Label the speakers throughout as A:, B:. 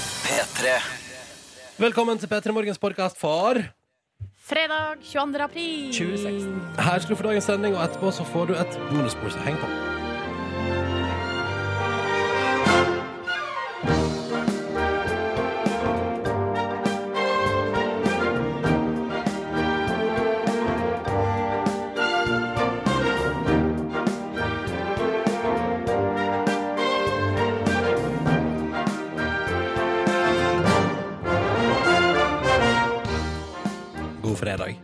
A: P3.
B: Velkommen til P3 Morgens podkast for
C: Fredag 22. april.
B: 2016. Her skal du få dagens sending, og etterpå så får du et bonusbord. Så heng på. God fredag.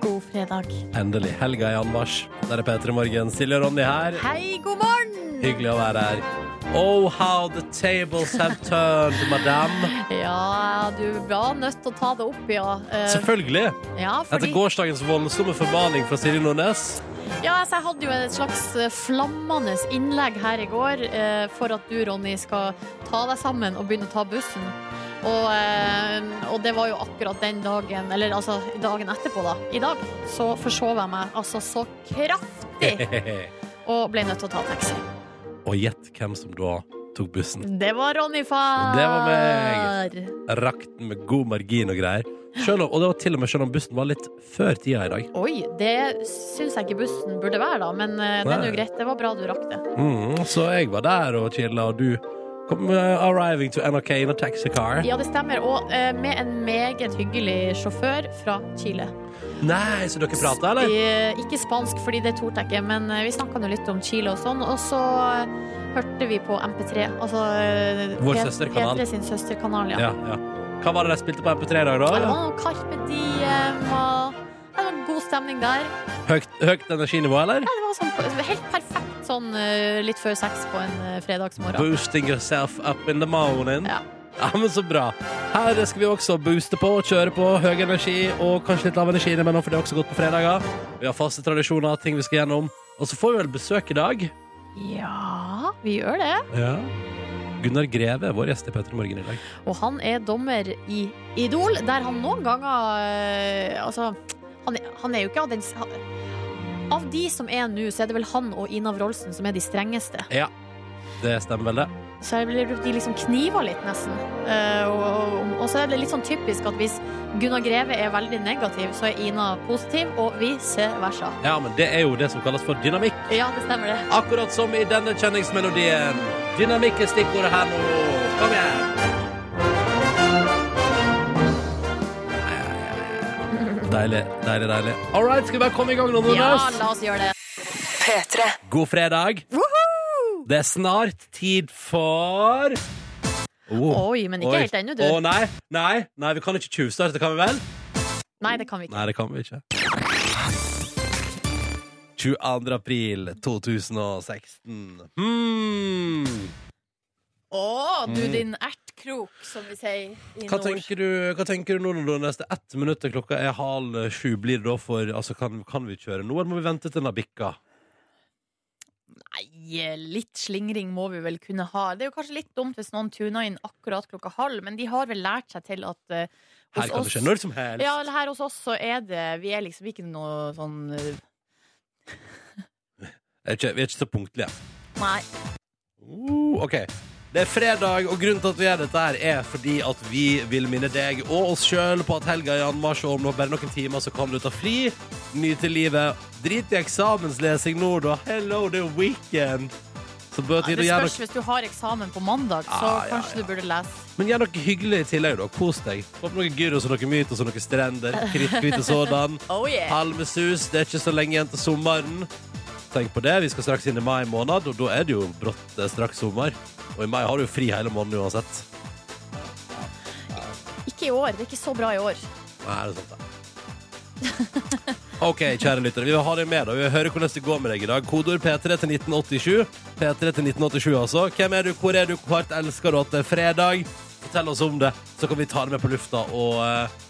C: God fredag.
B: Endelig. Helga i anmarsj. Der er P3 Morgen. Silje og Ronny her.
C: Hei, god morgen!
B: Hyggelig å være her. Oh, how the tables have turned, madame.
C: Ja, du var nødt til å ta det opp, ja. Eh,
B: Selvfølgelig.
C: ja,
B: Etter
C: fordi,
B: gårsdagens voldsomme formaning fra Silje Nordnes.
C: ja, altså, jeg hadde jo et slags eh, flammende innlegg her i går eh, for at du, Ronny, skal ta deg sammen og begynne å ta bussen. Og, eh, og det var jo akkurat den dagen, eller altså dagen etterpå, da. I dag så forsov jeg meg altså så kraftig og ble nødt til å ta taxi.
B: og gjett hvem som da tok bussen.
C: Det var Ronny far.
B: Det var meg. Rakk den med god margin og greier. Selv om, og det var til og med selv om bussen var litt før tida i dag.
C: Oi, det syns jeg ikke bussen burde være, da. Men eh, det er
B: Nei.
C: nå greit. Det var bra du rakk det.
B: Mm, så jeg var der og chilla, og du kom eh, arriving to NRK in a taxi car.
C: Ja, det stemmer. Og eh, med en meget hyggelig sjåfør fra Chile.
B: Nei, så dere prata, eller?
C: Eh, ikke spansk, fordi det torde jeg ikke, men eh, vi snakka nå litt om Chile og sånn. Og så eh, hørte vi på MP3, altså eh,
B: Vår
C: P-
B: søsterkanal.
C: P3 sin søsterkanal, ja.
B: Ja, ja. Hva var det de spilte på MP3 i dag,
C: Det var
B: da?
C: noe Carpe Diem og det var god stemning der.
B: Høyt, høyt energinivå, eller?
C: Ja, Det var sånn, helt perfekt sånn eh, litt før seks på en eh, fredagsmorgen.
B: Boosting yourself up in the morning.
C: Ja.
B: Ja, men så bra. Her skal vi også booste på, kjøre på høy energi og kanskje litt lav energi innimellom, for det er også godt på fredager. Vi har faste tradisjoner, ting vi skal gjennom. Og så får vi vel besøk i dag.
C: Ja, vi gjør det.
B: Gunnar Greve er vår gjest i Petter Morgen i dag.
C: Og han er dommer i Idol, der han noen ganger eh, Altså, han, er- han er jo ikke av den s- han, Av de som er nå, så er det vel han og Inav Rolsen som er de strengeste.
B: Det stemmer vel, det?
C: Så jeg blir- de liksom kniver litt, nesten. Eh, og, og, og så er det litt sånn typisk at hvis Gunnar Greve er veldig negativ, så er Ina positiv, og vice versa.
B: Ja, men det er jo det som kalles for dynamikk.
C: Ja, det stemmer det.
B: Akkurat som i denne kjenningsmelodien. Dynamikk er stikkordet her nå. Kom igjen! Deilig, deilig, deilig. All right, skal vi bare komme i gang nå,
C: Ja,
B: Nordnes?
C: la oss gjøre det.
B: God fredag. Det er snart tid for Oh,
C: Oi, men
B: oi.
C: ikke helt ennå, du.
B: Å nei, nei, nei, vi kan ikke tjuvstarte, kan vi vel?
C: Nei, det kan vi ikke.
B: Nei, det kan vi ikke. 22. april 2016. Hmm.
C: Å, du din ertkrok, som vi sier i
B: Hva
C: nord.
B: tenker, du, hva tenker du nå når det neste ett minutt til klokka er halv sju? Blir det da for altså kan, kan vi kjøre nå, eller må vi vente til den har bikka?
C: Nei, litt slingring må vi vel kunne ha. Det er jo kanskje litt dumt hvis noen tuner inn akkurat klokka halv, men de har vel lært seg til at eh,
B: Her kan det skje når som helst.
C: ja, eller her hos oss så er det Vi er liksom ikke noe sånn eh,
B: Vi er ikke, vi er ikke så punktlige.
C: Nei.
B: Uh, ok. Det er fredag, og grunnen til at vi gjør dette her, er fordi at vi vil minne deg og oss sjøl på at helga er i anmarsj, og om nå bare noen timer så kan du ta fri. Nyte livet. Drit i eksamenslesing nå, da. Hello, det er weekend. Så bør
C: Det
B: tiden å gjøre
C: spørs hvis du har eksamen på mandag, så
B: Ah, Ja, ja,
C: kanskje du burde lese.
B: Men gjør noe hyggelig i tillegg, da. Kos deg. Få opp noen gyros og noen mytos og noen strender. Kritthvite sådan.
C: Oh yeah!
B: Palmesus. Det er ikke så lenge igjen til sommeren. Tenk på det. Vi skal straks inn i mai måned, og da er det jo brått eh, straks sommer. Og i mai har du jo fri hele måneden uansett.
C: Ikke i år. Det er ikke så bra i år.
B: Nei, det er sant, det. OK, kjære lyttere. Vi vil ha deg med. da Vi vil høre hvordan det går med deg i dag. Kodeord P3 til 1987. P3 til 1987, altså. Hvem er du, hvor er du, hvor elsker du at det er fredag? Fortell oss om det, så kan vi ta det med på lufta og eh,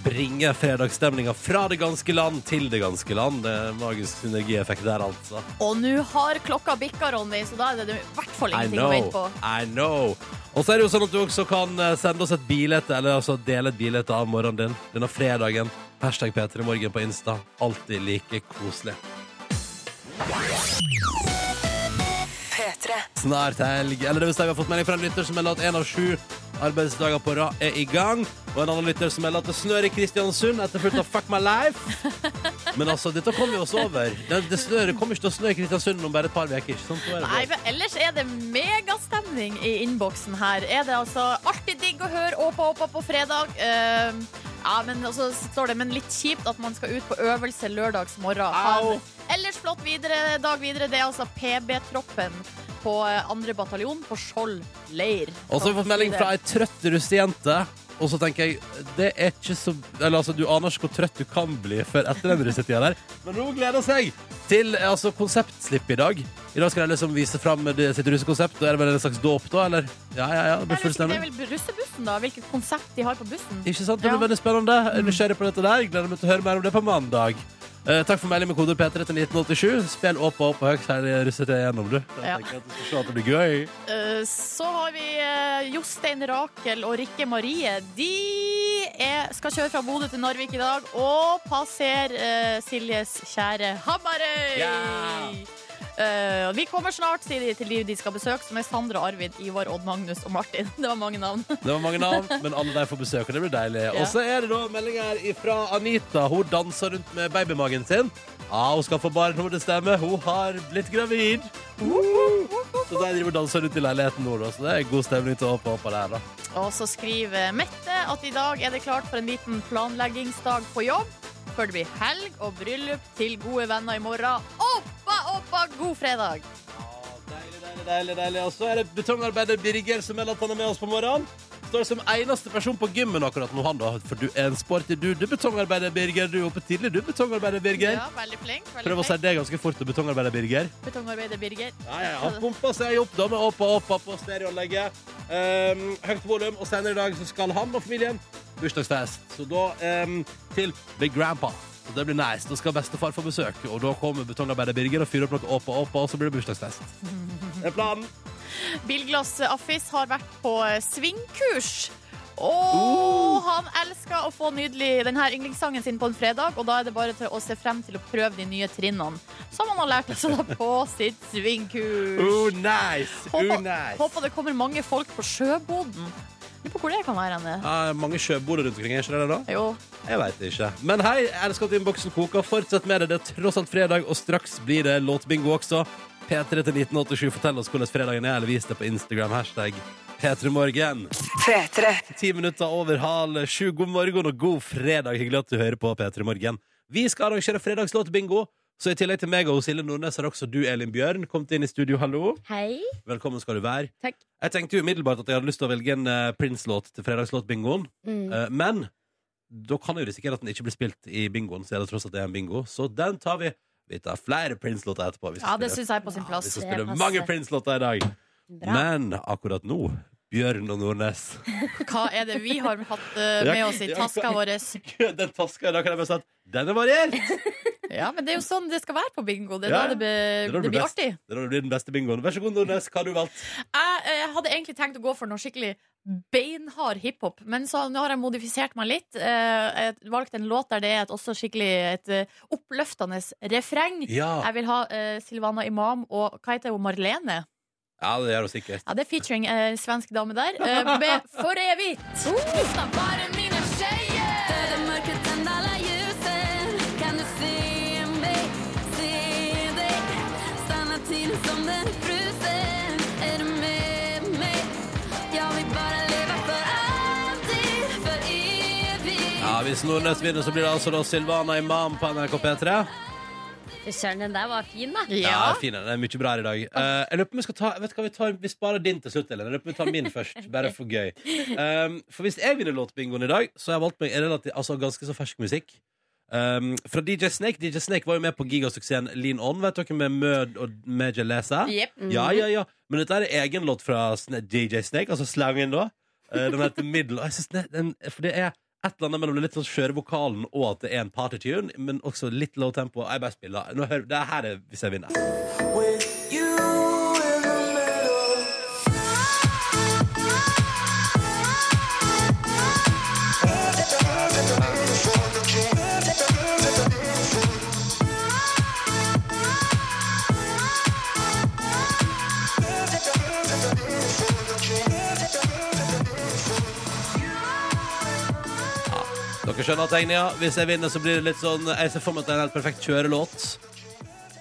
B: bringe fredagsstemninga fra det ganske land til det ganske land. Det er en magisk synergieffekt der, altså.
C: Og nå har klokka bikka, Ronny, så da er det i hvert fall
B: I
C: ingenting å vente på.
B: know. I know. Og så er det jo sånn at du også kan eh, sende oss et bilete, eller altså dele et bilete av morgenen din denne fredagen. Hashtag P3morgen på Insta. Alltid like koselig. Snart helg. Eller det vil si, vi har fått melding fra en lytter som melder at én av sju arbeidsdager på rad er i gang. Og en annen lytter som melder at det snør i Kristiansund, etterfulgt av Fuck my life. Men altså, dette kommer vi oss over. Det, det, snør, det kommer ikke til å snø i Kristiansund om bare et par uker. ikke sant? Da er det
C: Nei,
B: bra.
C: men ellers er det megastemning i innboksen her. Er det altså alltid digg å høre Åpa Åpa på fredag? Eh, ja, men også står det Men litt kjipt at man skal ut på øvelse lørdagsmorgen. Ha en
B: Au.
C: Ellers flott videre, dag videre. Det er altså PB-troppen på eh, andre bataljon på Skjold leir.
B: Og så har vi fått melding fra ei trøtt russejente. Og så tenker jeg det er ikke så Eller altså, Du aner ikke hvor trøtt du kan bli før etter den russetida der. Men hun gleder seg til eh, altså, konseptslipp i dag. I dag skal de liksom vise fram det- sitt russekonsept. Og er det vel en slags dåp, da? Eller? Ja, ja, ja. Det blir full
C: Nei, jeg vet ikke, det
B: stemning.
C: er vel russebussen, da. Hvilket konsept de har på bussen.
B: Ikke sant? Det blir
C: Ja.
B: veldig spennende. Jeg er nysgjerrig på dette der. Jeg Gleder meg til å høre mer om det på mandag. Eh, takk for melding med kode P3 til 1987. Spill opp og opp og høyt her i russetida gjennom, du. Jeg
C: Ja.
B: tenker at du skal se at det blir gøy.
C: Eh, Så har vi eh, Jostein Rakel og Rikke Marie. De er, skal kjøre fra Bodø til Narvik i dag og passere eh, Siljes kjære Hamarøy.
B: Ja!
C: Eh, og vi kommer snart sier de, til de de skal besøke, som er Sandra, Arvid, Ivar, Odd Magnus og Martin. Det var mange navn.
B: Det var mange navn, men alle der får besøk, og det blir deilig. Og så er det da meldinger her ifra Anita. Hun danser rundt med babymagen sin. Ja, hun skal få barn, hun det stemmer. Hun har blitt gravid. Så de driver og danser rundt i leiligheten nå, da. Så det er god stemning til å håpe på der, da.
C: Og så skriver Mette at i dag er det klart for en liten planleggingsdag på jobb. Før det blir helg og bryllup til gode venner i morgen. Oppa, oppa, god fredag!
B: Ja, Deilig, deilig, deilig. deilig. Og så er det betongarbeider Birger som melder at han er med oss på morgenen. Står som eneste person på gymmen akkurat nå, han da. For du er en sporty dude, du betongarbeider Birger. Du er oppe tidlig, du betongarbeider Birger.
C: Ja, veldig flink. Veldig
B: Prøv å
C: flink.
B: si det ganske fort, du betongarbeider Birger.
C: Betongarbeider Birger.
B: Ja, ja, han pumpa seg opp da med opp og opp og på stereoanlegget. Um, høyt volum, og senere i dag så skal han og familien bursdagsfest. Så da um, til Big Grandpa. Så det blir nice. Da skal bestefar få besøk, og da kommer betongarbeider Birger og fyrer opp noe opp og opp, og så blir det bursdagsfest. Det er planen.
C: Bilglass Affis har vært på eh, svingkurs. Og
B: Oh.
C: han elsker å få nydelig denne yndlingssangen sin på en fredag, og da er det bare til å se frem til å prøve de nye trinnene som han har lært seg da på sitt svingkurs.
B: Oh, nice! Oh,
C: Håper,
B: nice!
C: håper det kommer mange folk på sjøboden. Lurer på hvor det kan være henne.
B: Ja, mange sjøboere rundt omkring, er ikke det det da?
C: Jo.
B: Jeg veit ikke. Men hei, jeg elsker at innboksen koker. Fortsett med det. Det er tross alt fredag, og straks blir det låtbingo også. P3 til 1987. Fortell oss hvordan fredagen er, eller vis det på Instagram. Hashtag P3morgen. Ti minutter over halv sju. God morgen og god fredag. Hyggelig at du hører på P3 Morgen. Vi skal arrangere fredagslåtbingo. Så i tillegg til meg og Silje Nordnes har også du, Elin Bjørn, kommet inn i studio. Hallo.
A: Hei.
B: Velkommen skal du være.
A: Takk.
B: Jeg tenkte jo umiddelbart at jeg hadde lyst til å velge en eh, Prince-låt til fredagslåtbingoen. Eh, Men da kan jeg jo risikere at den ikke blir spilt i bingoen, siden det tross alt er en bingo. Så den tar vi. Vi tar flere Prince-låter etterpå. Hvis
C: Ja, det syns jeg er på sin plass.
A: det
B: spiller
A: passer.
B: mange Prince-låter i dag.
A: Bra.
B: Men akkurat nå Bjørn og Nordnes.
C: Hva er det vi har hatt eh, med oss i taska vår?
B: Den taska i dag kan jeg bare si at den er variert!
C: Ja, men det er jo sånn det skal være på bingo. Det er
B: Ja,
C: da det, be,
B: er da
C: det,
B: det blir
C: blir
B: best.
C: artig.
B: Det er da det blir den beste bingoen. Vær så god, Nordnes. Hva har du valgt?
C: Jeg eh, hadde egentlig tenkt å gå for noe skikkelig beinhard hiphop, men så nå har jeg modifisert meg litt. Eh, jeg valgte en låt der det er et, også skikkelig et eh, oppløftende refreng.
B: Ja,
C: Jeg vil ha eh, Silvana Imam og hva heter hun, Marlene?
B: ja det gjør hun sikkert.
C: Ja, Det er featuring eh, en svensk dame der. Eh, med For evigt! Lyssna, bara mina tjejer!
B: Ja, Hvis Nordnes vinner, så blir det altså da Silvana Imam på NRK P3.
A: Fy søren, den der var fin, da.
B: Ja,
C: Ja.
B: fin, den. det er mye bra her i dag. Eh, jeg lurer på om vi skal ta Vet du hva, vi, tar, vi sparer din til slutt, Elin. Jeg lurer på om vi tar min først, bare for gøy. Um, for hvis jeg vinner låtbingoen i dag, så har jeg valgt meg relativt, altså, ganske så fersk musikk. Um, fra DJ Snake. DJ Snake var jo med på gigasuksessen Lean On, vet dere, med Mød og Major Lazer.
C: Jepp.
B: Ja, ja, ja. Men dette er egen låt fra Sna- DJ Snake, altså slangen da. Eh, Den heter Middle. Og jeg synes det, den, for det er et eller annet mellom den litt sånn skjøre vokalen og at det er en partytune, men også litt low tempo. Jeg bare spiller. Nå hører, det er her er hvis jeg vinner. Dere skjønner tegninga. Hvis jeg vinner, så blir det litt sånn Jeg ser for meg at det er en helt perfekt kjørelåt.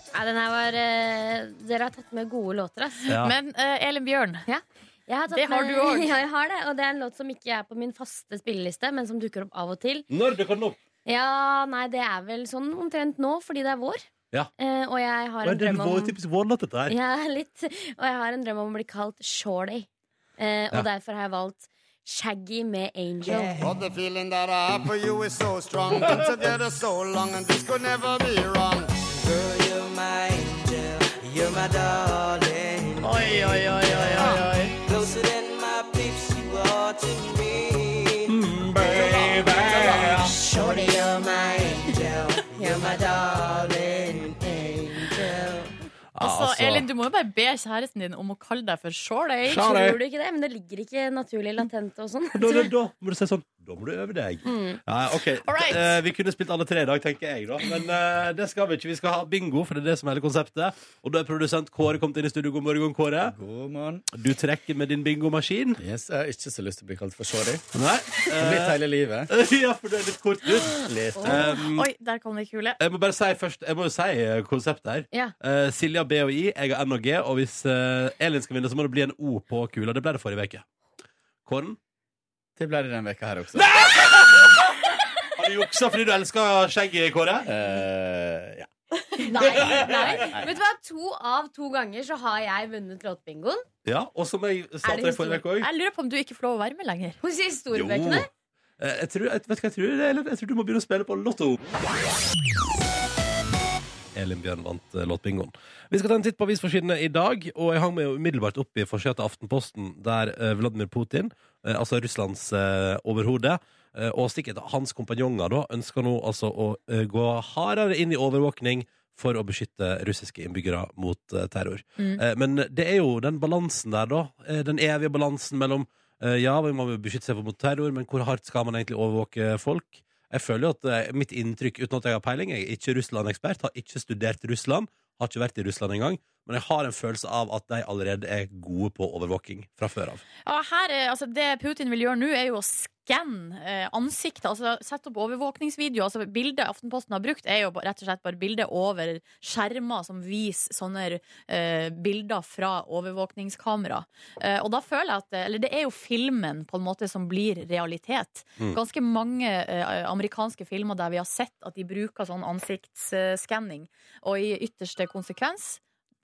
A: Nei, den her var eh, Dere har tatt med gode låter, ass.
B: Ja.
C: Men eh, Elin Bjørn,
A: Ja. Jeg har tatt
C: Det har
A: med,
C: du også.
A: Ja, jeg har det. Og det er en låt som ikke er på min faste spilleliste, men som dukker opp av og til.
B: Når dukker den opp?
A: Ja, nei, det er vel sånn omtrent nå, fordi det er vår.
B: Ja.
A: Eh, og jeg har
B: Nei,
A: en
B: Det er
A: drøm
B: vår
A: om
B: typisk vårlåt, dette her.
A: Ja, litt. Og jeg har en drøm om å bli kalt Shorty.
B: Ja.
A: Eh, Og derfor har jeg valgt Shaggy med Angel.
C: Eh,
D: But the feeling that I have for you is so strong. Been together so long, and this could never be wrong.
E: Girl, you're my angel, you're my darling.
C: Oi, oi, oi, oi, oi, oi.
E: Closer than my peeps, you are to me. baby. Shorty, you're my angel, you're my darling angel.
C: Altså,
B: Altså,
C: Elin, du må jo bare be kjæresten din om å kalle deg for
B: Shorty.
C: Shorty.
B: Shorty.
A: Tror du ikke det? Men det ligger ikke naturlig latent og sånn.
B: da, da, da må du si sånn Da må du øve deg. Ja, ok
C: All right.
B: Eh, Vi kunne spilt alle tre i dag, tenker jeg, da. Men eh, det skal vi ikke. Vi skal ha bingo, for det er det som er hele konseptet. Og da er produsent Kåre kommet inn i studio. God morgen, Kåre.
F: God morgen.
B: Du trekker med din bingomaskin.
F: Yes, uh, jeg har ikke så lyst til å bli kalt for eh? sorry.
B: Nei.
F: Blitt
B: Eh,
F: hele livet.
B: ja, for det er litt kort ut.
F: Litt.
B: Um,
C: Oi, der kom det kule.
B: jeg må bare si først Jeg må jo si eh, konseptet her.
A: Ja.
B: Eh, Silja B og I, jeg har N og G. Og hvis eh, Elin skal vinne, så må det bli en O på kula. Det ble det forrige uke. Kåren?
F: Det ble det denne veka her også.
B: Har du juksa fordi du elsker skjegget, Kåre?
F: Eh, ja.
A: Nei, nei. Vet du hva? To av to ganger så har jeg vunnet låtbingoen.
B: Ja, og som jeg sa
A: Er
B: til
A: det
B: deg forrige uke òg.
C: Jeg lurer på om du ikke får lov å være med lenger.
A: Hos
B: Jo.
A: historiebøkene.
B: Eh, Jeg tror, jeg, vet du hva jeg tror, det er, Elin? jeg tror du må begynne å spille på lotto. Elin Bjørn vant eh, låtbingoen. Vi skal ta en titt på avisforsidene i dag. Og jeg hang meg jo umiddelbart opp i forsida til Aftenposten, der eh, Vladimir Putin, eh, altså Russlands eh, overhode, eh, og sikkert hans kompanjonger, da, ønsker nå altså å eh, gå hardere inn i overvåkning for å beskytte russiske innbyggere mot eh, terror.
C: Mm.
B: Eh, men det er jo den balansen der, da. eh, den evige balansen mellom eh, ja, vi må beskytte seg mot terror, men hvor hardt skal man egentlig overvåke folk? Jeg føler jo at eh, mitt inntrykk, uten at jeg har peiling, jeg er ikke Russland-ekspert, har ikke studert Russland, har ikke vært i Russland engang, men jeg har en følelse av at de allerede er gode på overvåking fra før av.
C: Ja, her, eh, altså, det Putin vil gjøre nå, er jo å skanne eh, ansiktet. Altså, sette opp overvåkningsvideoer. Altså, bildet Aftenposten har brukt, er jo ba- rett og slett bare bilder over skjermer som viser sånne eh, bilder fra overvåkningskamera. Eh, og da føler jeg at eh, Eller det er jo filmen på en måte som blir realitet.
B: Mm.
C: Ganske mange eh, amerikanske filmer der vi har sett at de bruker sånn ansiktsskanning. Og i ytterste konsekvens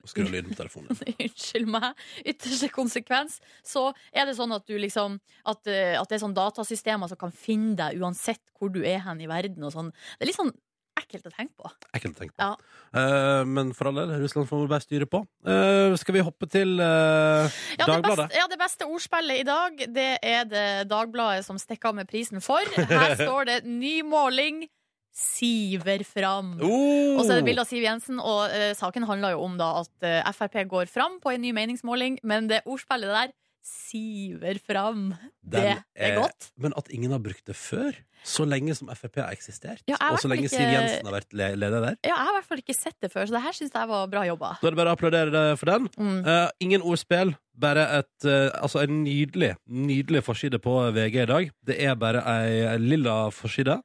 B: Nå skrur jeg lyden på telefonen.
C: unnskyld meg, ytterste konsekvens, så er det sånn at du liksom At, eh, at det er sånn datasystemer som kan finne deg uansett hvor du er hen i verden og sånn. Det er litt sånn ekkelt å tenke på.
B: Ekkelt å tenke på.
C: Ja.
B: Eh, men for all del, Russland får vi bare styre på. Eh, skal vi hoppe til eh,
C: Ja, det
B: Dagbladet?
C: beste, ja, det beste ordspillet i dag, det er det Dagbladet som stikker av med prisen for. Her står det 'Ny måling siver fram'.
B: Oh!
C: Og så er det bilde av Siv Jensen, og eh, saken handler jo om da at eh, Frp går fram på en ny meningsmåling, men det ordspillet der siver fram.
B: Den
C: det, det er
B: er-
C: godt.
B: Men at ingen har brukt det før, så lenge som Frp har eksistert,
C: Ja, jeg har
B: og så
C: i hvert
B: lenge
C: fall
B: Siv
C: ikke-
B: Jensen har vært le- leder der.
C: Ja, jeg har i hvert fall ikke sett det før, så det her syns jeg var bra jobba.
B: Da er det bare å applaudere deg for den.
C: Mm.
B: Eh, ingen ordspill, bare et, eh, altså en nydelig Nydelig forside på VG i dag. Det er bare ei, ei lilla forside.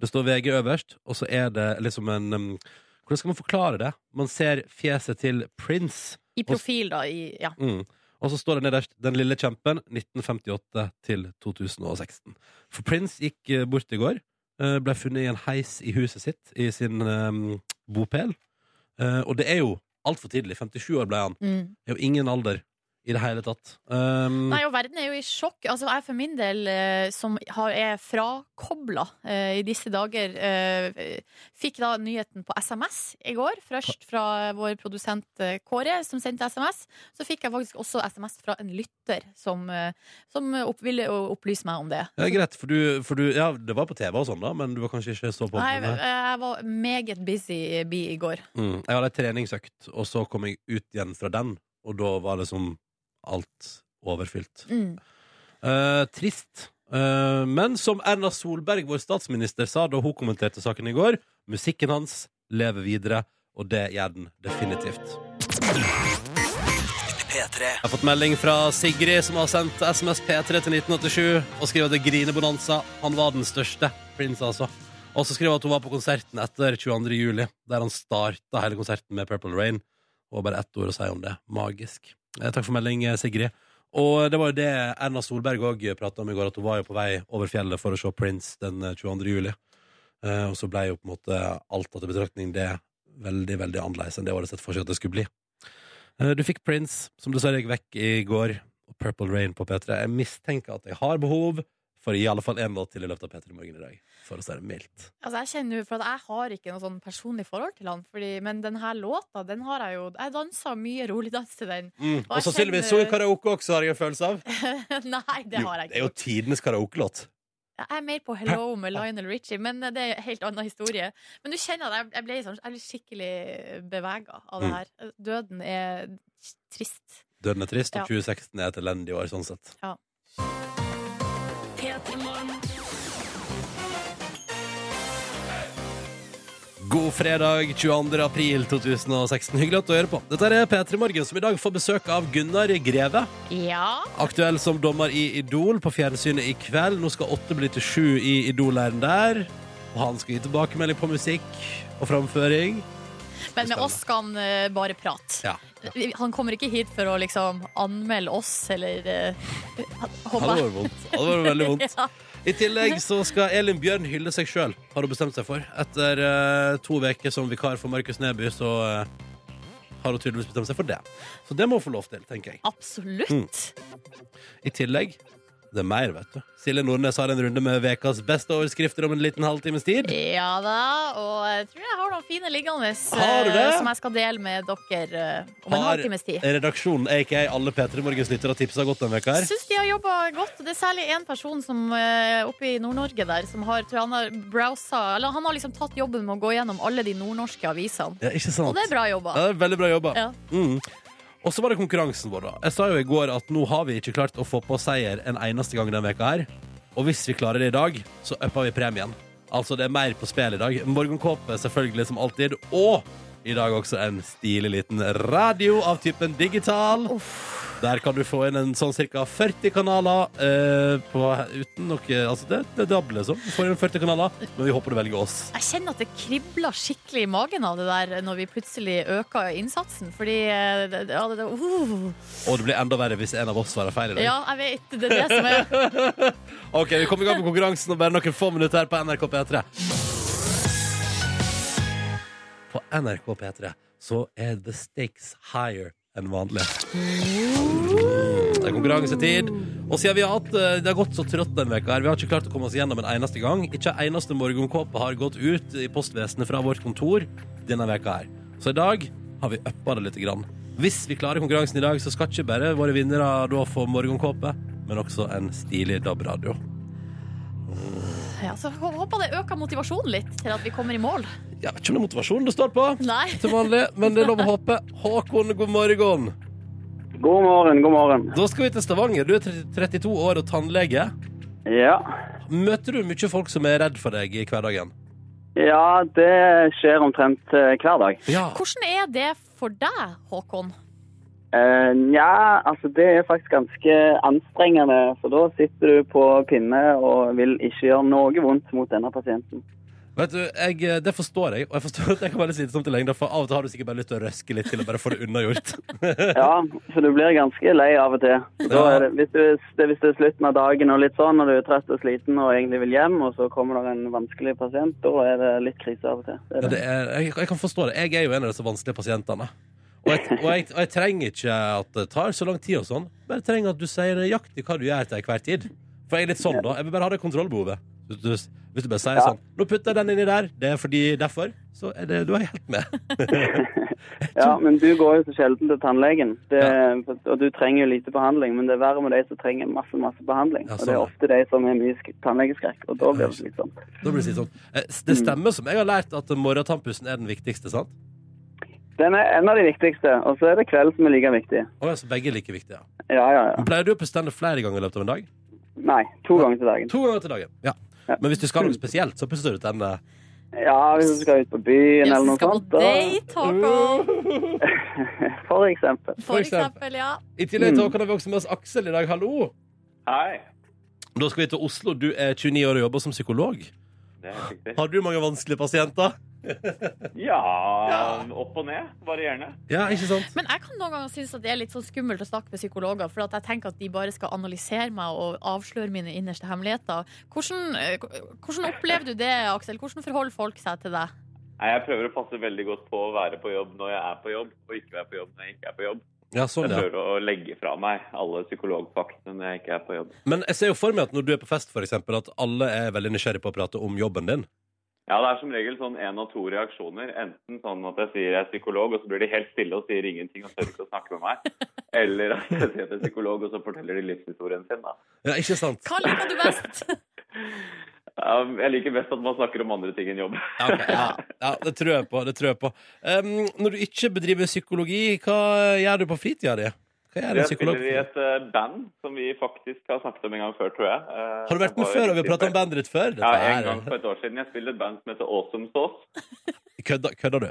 B: Det står VG øverst, og så er det liksom en um, Hvordan skal man forklare det? Man ser fjeset til Prince.
C: I profil, da. I, ja.
B: Mm. Og så står det nederst 'Den lille kjempen 1958 til 2016'. For Prince gikk eh, bort i går. eh, Ble funnet i en heis i huset sitt, i sin eh, bopel. Eh, Og det er jo altfor tidlig. 57 år ble han.
C: Mm.
B: Det er jo ingen alder i det hele tatt. Um,
C: Nei, og verden er jo i sjokk. Altså, jeg for min del, eh, som har, er frakobla eh, i disse dager, eh, fikk da nyheten på SMS i går. Først fra vår produsent eh, Kåre, som sendte SMS. Så fikk jeg faktisk også SMS fra en lytter som, eh, som opp, ville å opplyse meg om det.
B: ja, greit, for du, for du Ja, det var på TV og sånn, da, men du var kanskje ikke så på?
C: Nei, jeg,
B: Nei.
C: jeg var meget busy eh, bi i går.
B: Mm. Jeg hadde ei treningsøkt, og så kom jeg ut igjen fra den, og da var liksom alt overfylt.
C: Mm.
B: Eh, trist. Eh, men som Erna Solberg, vår statsminister, sa da hun kommenterte saken i går, musikken hans lever videre, og det gjør den definitivt. Jeg har fått melding fra Sigrid, som har sendt SMS P3 til 1987 og skriver at det er grinebonanza. Han var den største. Prince, altså. Og så skriver hun at hun var på konserten etter 22. juli, der han starta hele konserten med Purple Rain. Og bare ett ord å si om det. Magisk. Eh, takk for melding, eh, Sigrid. Og det var jo det Erna Solberg òg prata om i går, at hun var jo på vei over fjellet for å se Prince den eh, 22. juli. Eh, og så ble jo på en måte alt tatt i betraktning det veldig, veldig annerledes enn det hun hadde sett for seg at det skulle bli. Eh, Du fikk Prince, som dessverre gikk vekk i går, og Purple Rain på P3. Jeg mistenker at jeg har behov for i alle fall én låt til i løpet av P3 Morgen i dag. For å si det mildt.
C: Altså, jeg kjenner jo, for at jeg har ikke noe sånn personlig forhold til han, fordi, men denne låta, den har jeg jo Jeg dansa mye roligdans til den.
B: Mm.
C: Og
B: Og
C: jeg
B: sannsynligvis
C: kjenner-
B: sang karaoke også, har jeg en følelse av.
C: Nei, det har
B: Jo, det er
C: jeg ikke.
B: jo tidenes karaokelåt.
C: Jeg er mer på Hello med Lionel Richie, men eh, det er en helt annen historie. Men du kjenner at jeg, jeg, ble, sånn, jeg ble skikkelig bevega av det
B: Mm.
C: her. Døden er trist.
B: Døden er trist,
C: Ja.
B: og 2016 er et elendig år sånn sett.
C: Ja.
B: God fredag 22. april 2016. Hyggelig at du hører på. Dette er P3 Morgen, som i dag får besøk av Gunnar Greve.
C: Ja.
B: Aktuell som dommer i Idol på fjernsynet i kveld. Nå skal åtte bli til sju i Idol-leiren der. Og han skal gi tilbakemelding på musikk og framføring.
C: Men med oss skal han eh, bare prate.
B: Ja.
C: Han kommer ikke hit for å liksom anmelde oss eller eh,
B: Det
C: håper
B: hadde
C: jeg.
B: vært vondt. Det hadde vært veldig vondt.
C: Ja.
B: I tillegg så skal Elin Bjørn hylle seg sjøl, har hun bestemt seg for. Etter eh, to uker som vikar for Markus Neby, så eh, har hun tydeligvis bestemt seg for det. Så det må hun få lov til, tenker jeg. Mm.
C: Absolutt.
B: I tillegg det er mer, vet du. Silje Nordnes har en runde med vekas beste overskrifter om en liten halvtimes tid.
C: Ja da, og jeg tror jeg har noen fine liggende
B: Har du det?
C: eh, som jeg skal dele med dere eh, om en
B: Har
C: halvtimes tid.
B: redaksjonen, aka alle P3 Morgens lyttere, tipsa godt denne veka her?
C: Jeg syns de har jobba godt. og Det er særlig én person som, eh, oppe i Nord-Norge der som har, tror jeg han har browsa Eller han har liksom tatt jobben med å gå gjennom alle de nordnorske avisene.
B: Ja, ikke sant?
C: Og det er bra
B: Ja,
C: jobba.
B: det er veldig bra jobba.
C: Ja.
B: Mm. Og så var det konkurransen vår, da. Jeg sa jo i går at nå har vi ikke klart å få på seier en eneste gang denne veka her. Og hvis vi klarer det i dag, så upper vi premien. Altså, det er mer på spill i dag. Morgenkåpe selvfølgelig som alltid. Og i dag også en stilig liten radio av typen digital. Der kan du få inn en sånn ca. 40 kanaler eh, på, uten noe Altså, det, det er dobbelt, liksom. Du får inn 40 kanaler, men vi håper du velger oss.
C: Jeg kjenner at det kribler skikkelig i magen av det der når vi plutselig øker innsatsen, fordi eh, det, det, ja, det, uh.
B: Og det blir enda verre hvis en av oss svarer feil i dag.
C: Ja, jeg vet. Det er det som er
B: Ok, vi kommer i gang med konkurransen om bare noen få minutter her på NRK P3. På NRK P3 så er the stakes higher enn vanlig. Det er konkurransetid. Og siden vi har hatt, eh, Det har gått så trått denne veka her. Vi har ikke klart å komme oss gjennom en eneste gang. Ikke en eneste morgenkåpe har gått ut i postvesenet fra vårt kontor denne veka her. Så i dag har vi uppa det litt. Grann. Hvis vi klarer konkurransen i dag, så skal ikke bare våre vinnere da få morgenkåpe, men også en stilig DAB-radio.
C: ja, Så hå- håper det øker motivasjonen litt til at vi kommer i mål.
B: Jeg vet ikke om det er motivasjonen det står på,
C: Nei.
B: til vanlig, men det er lov å håpe. Håkon, god morgen.
G: God morgen, god morgen.
B: Da skal vi til Stavanger. Du er 30 32 år og tannlege.
G: Ja.
B: Møter du mye folk som er redd for deg i hverdagen?
G: ja, det skjer omtrent eh, hver dag.
B: Ja.
C: Hvordan er det for deg, Håkon?
G: Eh, Nja, altså det er faktisk ganske anstrengende, for da sitter du på pinne og vil ikke gjøre noe vondt mot denne pasienten.
B: Vet du, jeg, eh, Det forstår jeg, og jeg forstår at jeg kan være litt slitsomt i lengden, for av og til har du sikkert bare lyst til å røske litt til og bare få det unnagjort.
G: Ja, for du blir ganske lei av og til. Da
B: Ja.
G: er det, hvis, du, det, hvis det er slutten av dagen og litt sånn, og du er trøtt og sliten og egentlig vil hjem, og så kommer det en vanskelig pasient, da er det litt krise av og til. Det er
B: Ja,
G: det.
B: det er, jeg, jeg kan forstå det. Jeg er jo en av disse vanskelige pasientene. Og jeg, og, jeg, og jeg trenger ikke at det tar så lang tid og sånn. Bare trenger at du sier nøyaktig hva du gjør til hver tid. For jeg er litt sånn, da. Jeg vil bare ha det kontrollbehovet. Hvis du, hvis du bare sier
G: Ja.
B: sånn Nå putter jeg den inni der. Det er fordi derfor. Så er det, du er helt med.
G: Ja, men du går jo så sjelden til tannlegen, det, og du trenger jo lite behandling. Men det er verre med de som trenger masse, masse behandling.
B: Ja,
G: og det er
B: sånn.
G: ofte de som har mye sk- tannlegeskrekk, og da blir det litt sånn.
B: Da blir det litt sånn. Eh, Det
G: Mm.
B: stemmer som jeg har lært, at morgentannpussen er den viktigste, sant?
G: Den er en av de viktigste, og så er det kveld som er like viktig.
B: Å ja, så begge er like viktige. Ja.
G: Ja, ja, ja.
B: Men Pleier du å bestemme flere ganger i løpet av en dag?
G: Nei, to ganger til dagen.
B: To ganger til dagen. Ja. Men hvis du skal ha noe spesielt, så pusser du tennene
G: Ja, hvis du skal ut på byen eller
C: Jussi
G: noe
C: skal på
G: sånt.
C: date, Håkon.
G: da- For
B: Uh,
G: eksempel.
C: For eksempel, ja.
B: I
G: Mm.
B: tillegg til Håkon har vi også med oss Aksel i dag. Hallo! Hei. Da skal vi til Oslo. Du er 29 år og jobber som psykolog.
H: Det er riktig.
B: Har du mange vanskelige pasienter?
H: Ja, opp og ned. Varierende.
B: Ja, ikke sant?
C: Men jeg kan noen ganger synes at det er litt sånn skummelt å snakke med psykologer, for at jeg tenker at de bare skal analysere meg og avsløre mine innerste hemmeligheter. Hvordan, eh, hvordan opplever du det, Aksel? Hvordan forholder folk seg til deg?
H: Nei, jeg prøver å passe veldig godt på å være på jobb når jeg er på jobb, og ikke være på jobb når jeg ikke er på jobb.
B: Ja, sånn,
H: Jeg
B: ja.
H: prøver å legge fra meg alle psykologfaktene når jeg ikke er på jobb.
B: Men jeg ser jo for meg at når du er på fest, for eksempel, at alle er veldig nysgjerrig på å prate om jobben din.
H: Ja, det er som regel sånn én av to reaksjoner. Enten sånn at jeg sier jeg er psykolog, og så blir de helt stille og sier ingenting og tør ikke å snakke med meg. Eller at jeg sier at jeg er psykolog, og så forteller de livshistorien sin, da.
B: Ja, ikke sant?
C: Hva liker du best?
H: Um, Jeg liker best at man snakker om andre ting enn jobb.
B: Ja, ok, ja. ja det tror jeg på. det tror jeg på. Um, når du ikke bedriver psykologi, hva gjør du på fritida di? Hva gjør en
H: Jeg
B: psykolog?
H: spiller
B: på
H: i
B: fritida?
H: et eh, band som vi faktisk har snakket om en gang før, tror jeg. Eh,
B: Har du vært med
H: var
B: før, og vi har
H: litt
B: prata om
H: før.
B: bandet ditt før? Dette
H: Ja,
B: er-
H: en gang for et år siden. Jeg spilte et band som heter Awesome Sauce.
B: Kødda, kødda du?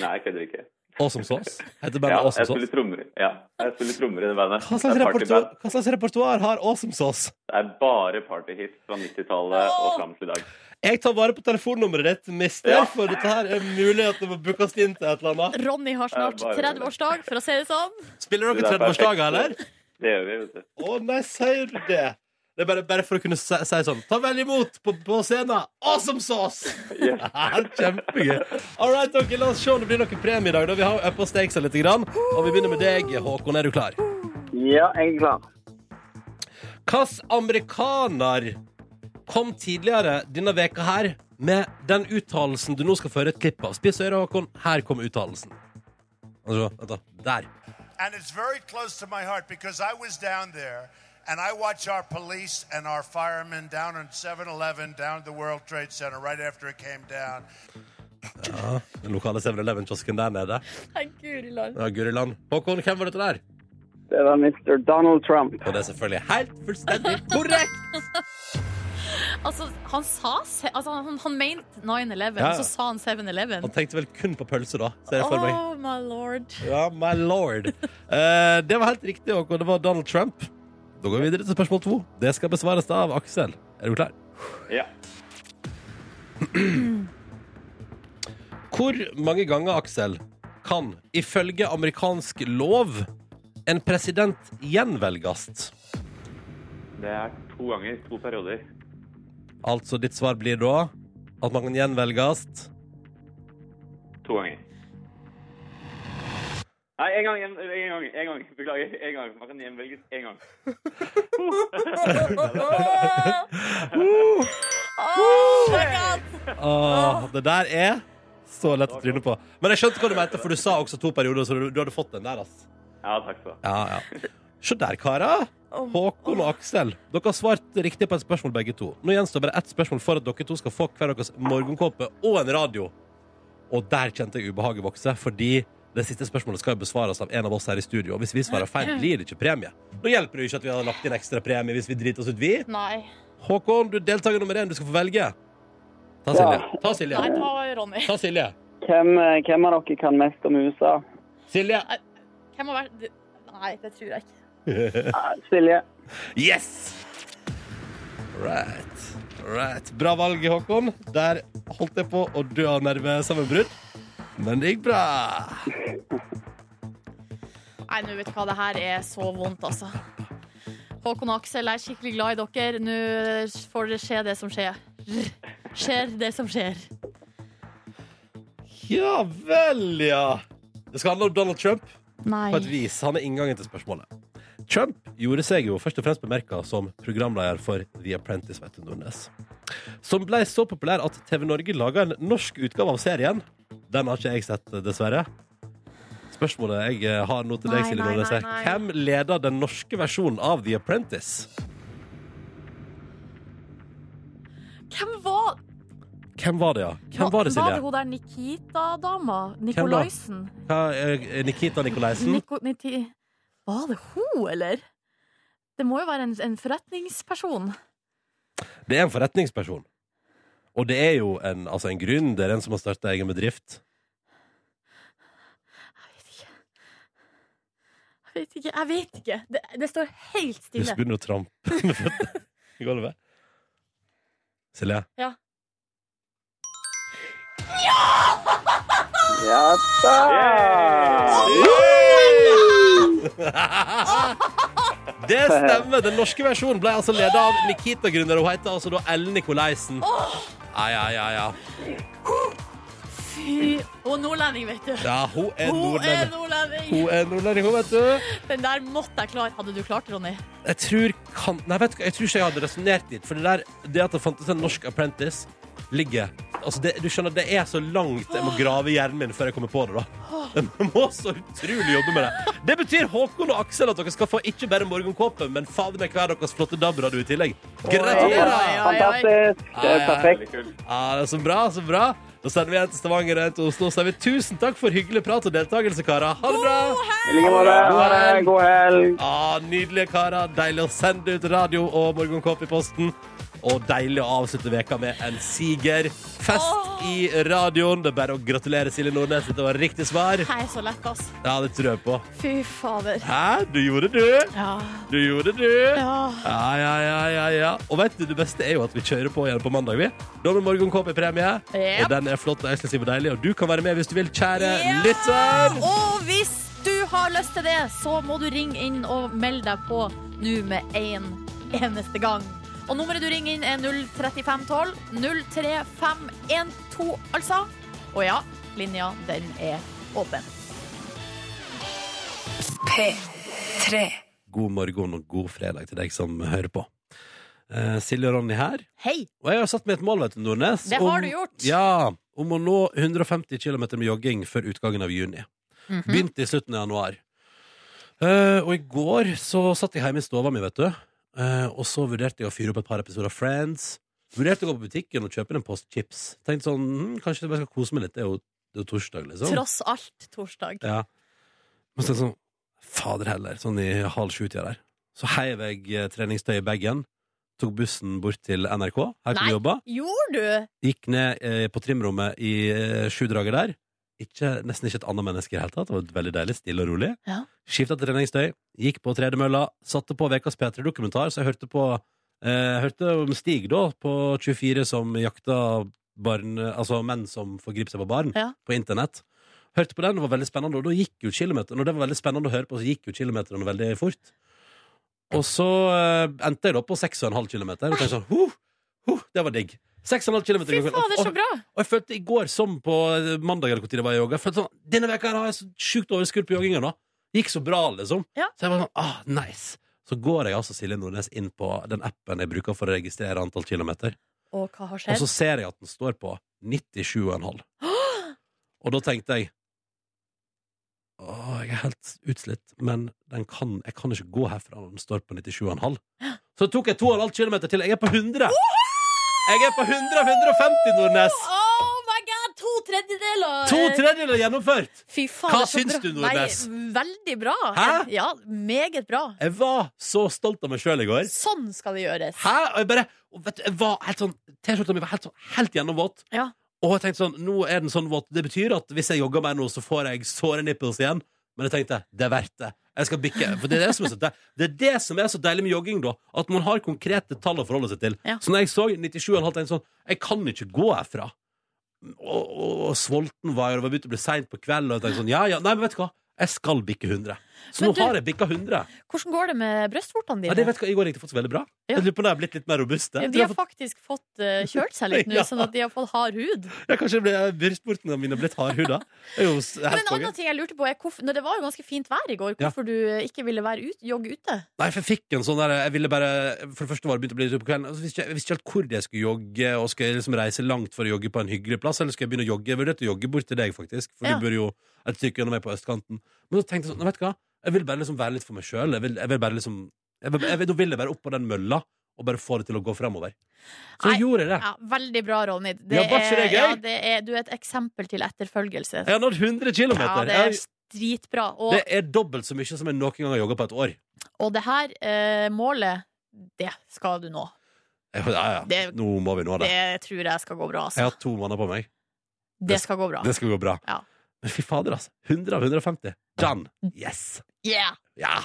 H: Nei, jeg kødder ikke.
B: Awesome Sauce? Heter
H: Ja,
B: bandet Awesome
H: jeg
B: Sauce?
H: spiller trommer. Ja, jeg spiller trommer i det bandet.
B: Hva
H: Det
B: slags,
H: er
B: repertoar,
H: partyband.
B: hva slags repertoar har Awesome Sauce?
H: Det er bare partyhits fra 90-tallet og fram til i dag.
B: Jeg tar vare på telefonnummeret ditt, mister,
H: Ja.
B: for dette her er muligheten for å bookes inn til et eller annet.
C: Ronny har snart
H: Ja, bare-
C: 30-årsdag, for å si det sånn.
B: Spiller
H: Du,
B: dere
H: det er perfekt.
B: 30-årsdager, eller?
H: Det gjør vi, vet du.
B: Å nei, sier du det? Det er bare, bare for å kunne si, si sånn Ta vel imot på, på scenen! Awesome sauce!
H: Yes.
B: Ja, Kjempegøy. All right, dere, la oss se om det blir noen premie i dag. Da. Vi har uppa stakesa litt. Grann. Og vi begynner med deg, Håkon. Er du klar?
G: Ja, jeg er klar.
B: Hvilken amerikaner kom tidligere denne veka her med den uttalelsen du nå skal føre et klipp av? Spiss øret, Håkon. Her kom uttalelsen. Altså, vent da. Der.
I: And it's very close to my heart because I was down there and I watch our police and our firemen down on 7 Eleven, down at the World Trade Center right after it came down.
B: Den lokale 7-Eleven-kiosken der nede.
C: Nei, guri land.
B: Ja, Guri land. Håkon, hvem var dette der?
G: Det var Mr. Donald Trump.
B: Og det er selvfølgelig helt fullstendig korrekt!
C: Altså, han sa se- altså, han, han mente 9-11,
B: Ja, ja.
C: og så sa han 7-11.
B: Han tenkte vel kun på pølse, da. Ser jeg for meg.
C: Oh my lord.
B: Ja, my lord. Eh, det var helt riktig, Håkon. Det var Donald Trump. Da går vi videre til spørsmål to. Det skal besvares av Aksel. Er du klar?
H: Ja.
B: Hvor mange ganger, Aksel, kan ifølge amerikansk lov en president gjenvelges?
H: Det er to ganger, to perioder.
B: Altså, ditt svar blir da at man kan gjenvelges
H: To ganger. Nei, én gang, en, en gang. en gang, Beklager. Én gang. Man kan gjenvelges én gang.
C: Oh my god.
B: Åh, Det der er så lett å tryne på. Men jeg skjønte hva du mente, for du sa også to perioder, så du, du hadde fått den der, ass.
H: Ja, takk skal du ha.
B: Ja, ja. Se der, karer. Håkon og Aksel, dere har svart riktig på et spørsmål begge to. Nå gjenstår bare ett spørsmål for at dere to skal få hver deres morgenkåpe og en radio. Og der kjente jeg ubehaget vokse, fordi det siste spørsmålet skal jo besvares av en av oss her i studio. Og hvis vi svarer feil, blir det ikke premie. Nå hjelper det jo ikke at vi har lagt inn ekstra premie hvis vi driter oss ut, vi.
C: Nei.
B: Håkon, du er deltaker nummer én. Du skal få velge. Ta Silje. Ta
C: Nei,
G: Ja.
B: Silje.
C: ta Ronny.
B: Ta Silje.
G: Hvem, eh, hvem av dere kan mest om USA?
B: Silje.
C: Hvem har vært Nei, det tror jeg ikke.
G: Ah, Silje.
B: Yes! Right. right. Bra valg, Håkon. Der holdt jeg på å dø av nervesammenbrudd. Men det gikk bra.
C: Nei, nå vet du hva, det her er så vondt, altså. Håkon og Aksel jeg er skikkelig glad i dere. Nå får dere se det som skjer. Skjer det som skjer.
B: Ja vel, ja. Det skal handle om Donald Trump
C: Nei.
B: på et vis. Han er inngangen til spørsmålet. Trump gjorde seg jo først og fremst bemerka som programleder for The Apprentice, vet du, Nordnes. Som ble så populær at TV Norge laga en norsk utgave av serien. Den har ikke jeg sett, dessverre. Spørsmålet jeg eh, har nå til deg,
C: Nei,
B: Silje
C: nei,
B: Nordnes,
C: nei,
B: er
C: nei.
B: hvem leder den norske versjonen av The Apprentice?
C: Hvem var,
B: Hvem var det, ja? Hvem var det,
C: Var det
B: Silje?
C: hun der Nikita-dama? Nikolaisen?
B: Hva, eh, Nikita Nikolaisen?
C: Niko, Niti... Var det hun, eller? Det må jo være en, en forretningsperson.
B: Det er en forretningsperson. Og det er jo en, altså en grunn. Det er en som har starta egen bedrift.
C: Jeg vet ikke. Jeg vet ikke. Det, det står helt
B: Du
C: stille.
B: begynner å trampe med føttene i gulvet. Silje?
C: Ja.
G: Ja da!
B: Det stemmer! Den norske versjonen ble altså leda av Nikita-gründer. Hun heter altså da Ellen Nikolaisen. Ja, ja, ja, ja.
C: Fy Og nordlending, vet du.
B: ja hun er
C: Hun er
B: nordlending.
C: nordlending.
B: Hun er nordlending, hun, vet du.
C: Den der måtte jeg klare. Hadde du klart, Ronny?
B: Jeg tror, kan, nei, vet du, hva, jeg tror ikke jeg hadde resonnert dit. For det, der, det at det fantes en norsk apprentice, ligger altså det, Du skjønner, det er så langt jeg må grave i hjernen min før jeg kommer på det. da Jeg må så utrolig jobbe med det. Det betyr Håkon og Aksel at dere skal få ikke bare morgenkåpe, men fader meg hver deres flotte DAB-radio i tillegg. Gratulerer!
G: Fantastisk. Det er perfekt.
H: Veldig kult.
B: Ja, det er så bra, så bra. Da sender vi en til Stavanger og en til Oslo. Så sier vi tusen takk for hyggelig prat og deltakelse, karer. Ha det bra!
G: I like måte. Ha det. God helg.
B: Ja, Ah, nydelige karer. Deilig å sende ut radio og morgenkåpe i posten. Og deilig å avslutte veka med en sigerfest i radioen. Det er bare å gratulere Silje Nordnes. Dette var riktig svar.
C: Jeg er så lett, ass.
B: Ja, det tror jeg på.
C: Fy fader.
B: Hæ? Du gjorde det, du.
C: Ja.
B: Du gjorde det, du. Ja, ja, ja, ja, ja. Og vet du, det beste er jo at vi kjører på igjen på mandag, vi. Da med morgenkåpe i premie.
C: Yep.
B: Og den er flott og eksklusiv og deilig, og du kan være med hvis du vil, kjære
C: Ja!
B: lytter.
C: Og hvis du har lyst til det, så må du ringe inn og melde deg på nå med en eneste gang. Og nummeret du ringer inn, er 03512. 03512, altså. Og ja, linja, den er åpen.
B: God morgen og god fredag til deg som hører på. Eh, Silje og Ronny her.
C: Hei!
B: Og jeg har satt meg et mål, vet du, Nordnes.
C: Det har du gjort.
B: Ja, om å nå 150 km med jogging før utgangen av juni.
C: Mhm.
B: Begynte i slutten av januar. Eh, og i går så satt jeg hjemme i stova mi, vet du. Eh, og så vurderte jeg å fyre opp et par episoder av Friends. Vurderte å gå på butikken og kjøpe en post chips. Tenkte sånn, hm, kanskje jeg bare skal kose meg litt. Det er jo, det er jo torsdag, liksom.
C: Tross alt torsdag.
B: Ja. Men så er det sånn Fader heller, sånn i halv sju-tida der. Så heiv jeg eh, treningstøyet i bagen, tok bussen bort til NRK, her på
C: Nei.
B: jobba.
C: Gjorde du?
B: Gikk ned eh, på trimrommet i eh, sju dager der. Ikke, nesten ikke et annet menneske i det hele tatt. Det var veldig deilig, stille og rolig.
C: Ja.
B: Skifta til treningstøy, gikk på tredemølla, satte på ukas P3-dokumentar, så jeg hørte på eh, Hørte om Stig, da, på 24, som jakta barn Altså menn som forgriper seg på barn
C: Ja.
B: på internett. Hørte på den, det var veldig spennende, og da gikk jo kilometeren. Og det var veldig spennende å høre på, så gikk jo kilometerne veldig fort. Og så eh, endte jeg da på 6,5 km, og tenkte sånn huh, huh, Det var digg. 6,5 km.
C: Fy fader, så bra!
B: Og jeg følte i går som på eh, mandag eller hvor tid det var jeg jogga, jeg følte sånn, denne veka her har jeg så sjukt overskudd på jogginga nå. Gikk så bra, liksom.
C: Ja.
B: Så jeg var sånn, ah, nice. Så går jeg altså Silje Nordnes inn på den appen jeg bruker for å registrere antall kilometer,
C: Og hva har
B: og
C: skjedd?
B: så ser jeg at den står på 97,5. Og da tenkte jeg Åh, jeg er helt utslitt, men den kan, jeg kan ikke gå herfra når den står på 97,5. Så tok jeg 2,5 km til. Jeg er på 100! Jeg er på 100 av 150, Nordnes!
C: Oh my god! To tredjedeler!
B: To
C: Eh,
B: tredjedeler gjennomført!
C: Fy fader,
B: Hva
C: så
B: syns
C: bra.
B: du, Nordnes?
C: Nei, veldig bra.
B: Hæ?
C: Ja, meget bra.
B: Jeg var så stolt av meg sjøl i går.
C: Sånn skal det gjøres.
B: Hæ? Og jeg bare og vet du, jeg var helt sånn T-skjorta mi var helt, sånn, helt gjennomvåt.
C: Ja.
B: Og jeg tenkte sånn Nå er den sånn våt. Det betyr at hvis jeg jogger meg nå, så får jeg såre nipples igjen. Men jeg tenkte det er verdt det. Jeg skal bikke. For det er det som er så, deil- det er det som er så deilig med jogging, da. At man har konkrete tall å forholde seg til.
C: Ja.
B: Så når jeg så 97,5, tenkte jeg sånn Jeg kan ikke gå herfra. Og, og, og sulten var jeg, og det var begynt å bli seint på kvelden, og jeg tenkte sånn Ja, ja, nei, men vet du hva? Jeg skal bikke 100. Så
C: Men
B: nå
C: du-
B: har jeg bikka 100.
C: Hvordan går det med brystvortene
B: Ja,
C: dine?
B: det vet du hva, I går gikk det faktisk veldig bra.
C: Ja.
B: Jeg lurer på om de har blitt litt mer robuste.
C: Ja,
B: Jeg
C: de
B: tror jeg
C: har faktisk fått eh, kjølt seg litt nå,
B: Ja.
C: sånn at de har fått hard
B: har
C: hud.
B: fått- ja, kanskje ble- brystvortene mine har blitt hardhuda. Det er jo s-
C: Men
B: helt
C: en
B: konge.
C: annen ting jeg lurte på er hvorfor, når Det var jo ganske fint vær i går.
B: Ja.
C: Hvorfor du eh, ikke ville være ut, jogge ute?
B: Nei, for jeg fikk en sånn der Jeg ville bare For det første var det begynt å bli litt på kvelden. og så visste jeg jeg visste ikke helt hvor jeg skulle jogge, og skal jeg liksom reise langt for å jogge på en hyggelig plass, eller skal jeg begynne å jogge? Jeg vurderte å jogge bort til deg, faktisk, for
C: Ja.
B: du bor jo et stykke gjennom meg på østkanten. Men så tenkte jeg sånn, nei, vet du hva, jeg vil bare liksom være litt for meg sjøl. Jeg, vil- jeg vil bare liksom jeg vil, jeg vil, Da vil jeg bare opp på den mølla, og bare få det til å gå framover. Så
C: Nei.
B: gjorde jeg det.
C: Ja, Veldig bra, Ronny. Det
B: Ja, var ikke
C: er-
B: det gøy?
C: ja, det er, du er et eksempel til etterfølgelse.
B: Jeg har nådd 100 km.
C: Ja, det er dritbra. Og
B: Det er dobbelt så mye som jeg noen gang har jogga på et år.
C: Og det her eh, målet, det skal du nå.
B: Ja, ja.
C: Det-
B: Nå må vi nå det.
C: Det tror jeg skal gå bra, altså.
B: Jeg har to måneder på meg.
C: Det skal gå bra.
B: Det skal gå bra.
C: Ja. Mm.
B: Men fy fader, altså. 100 av 150. Done! Yes!
C: Yeah!
B: Ja!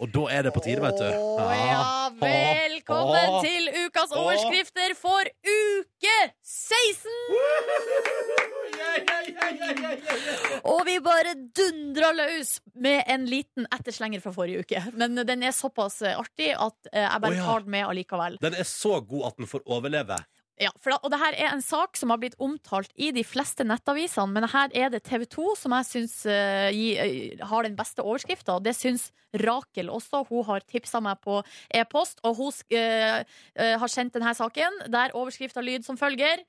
B: Og da er det på tide, vet du.
C: Å ja, velkommen til ukas overskrifter for uke 16! Og vi bare dundra løs med en liten etterslenger fra forrige uke. Men den er såpass artig at eh, jeg
B: Å
C: bare
B: ja.
C: tar den med allikevel.
B: Den er så god at den får overleve.
C: Ja, for da, og det her er en sak som har blitt omtalt i de fleste nettavisene, men her er det TV 2 som jeg syns eh, gi- eh, har den beste overskrifta, og det syns Rakel også. Hun har tipsa meg på e-post, og hun sk- eh, eh, har sendt denne saken, der overskrifta lyd som følger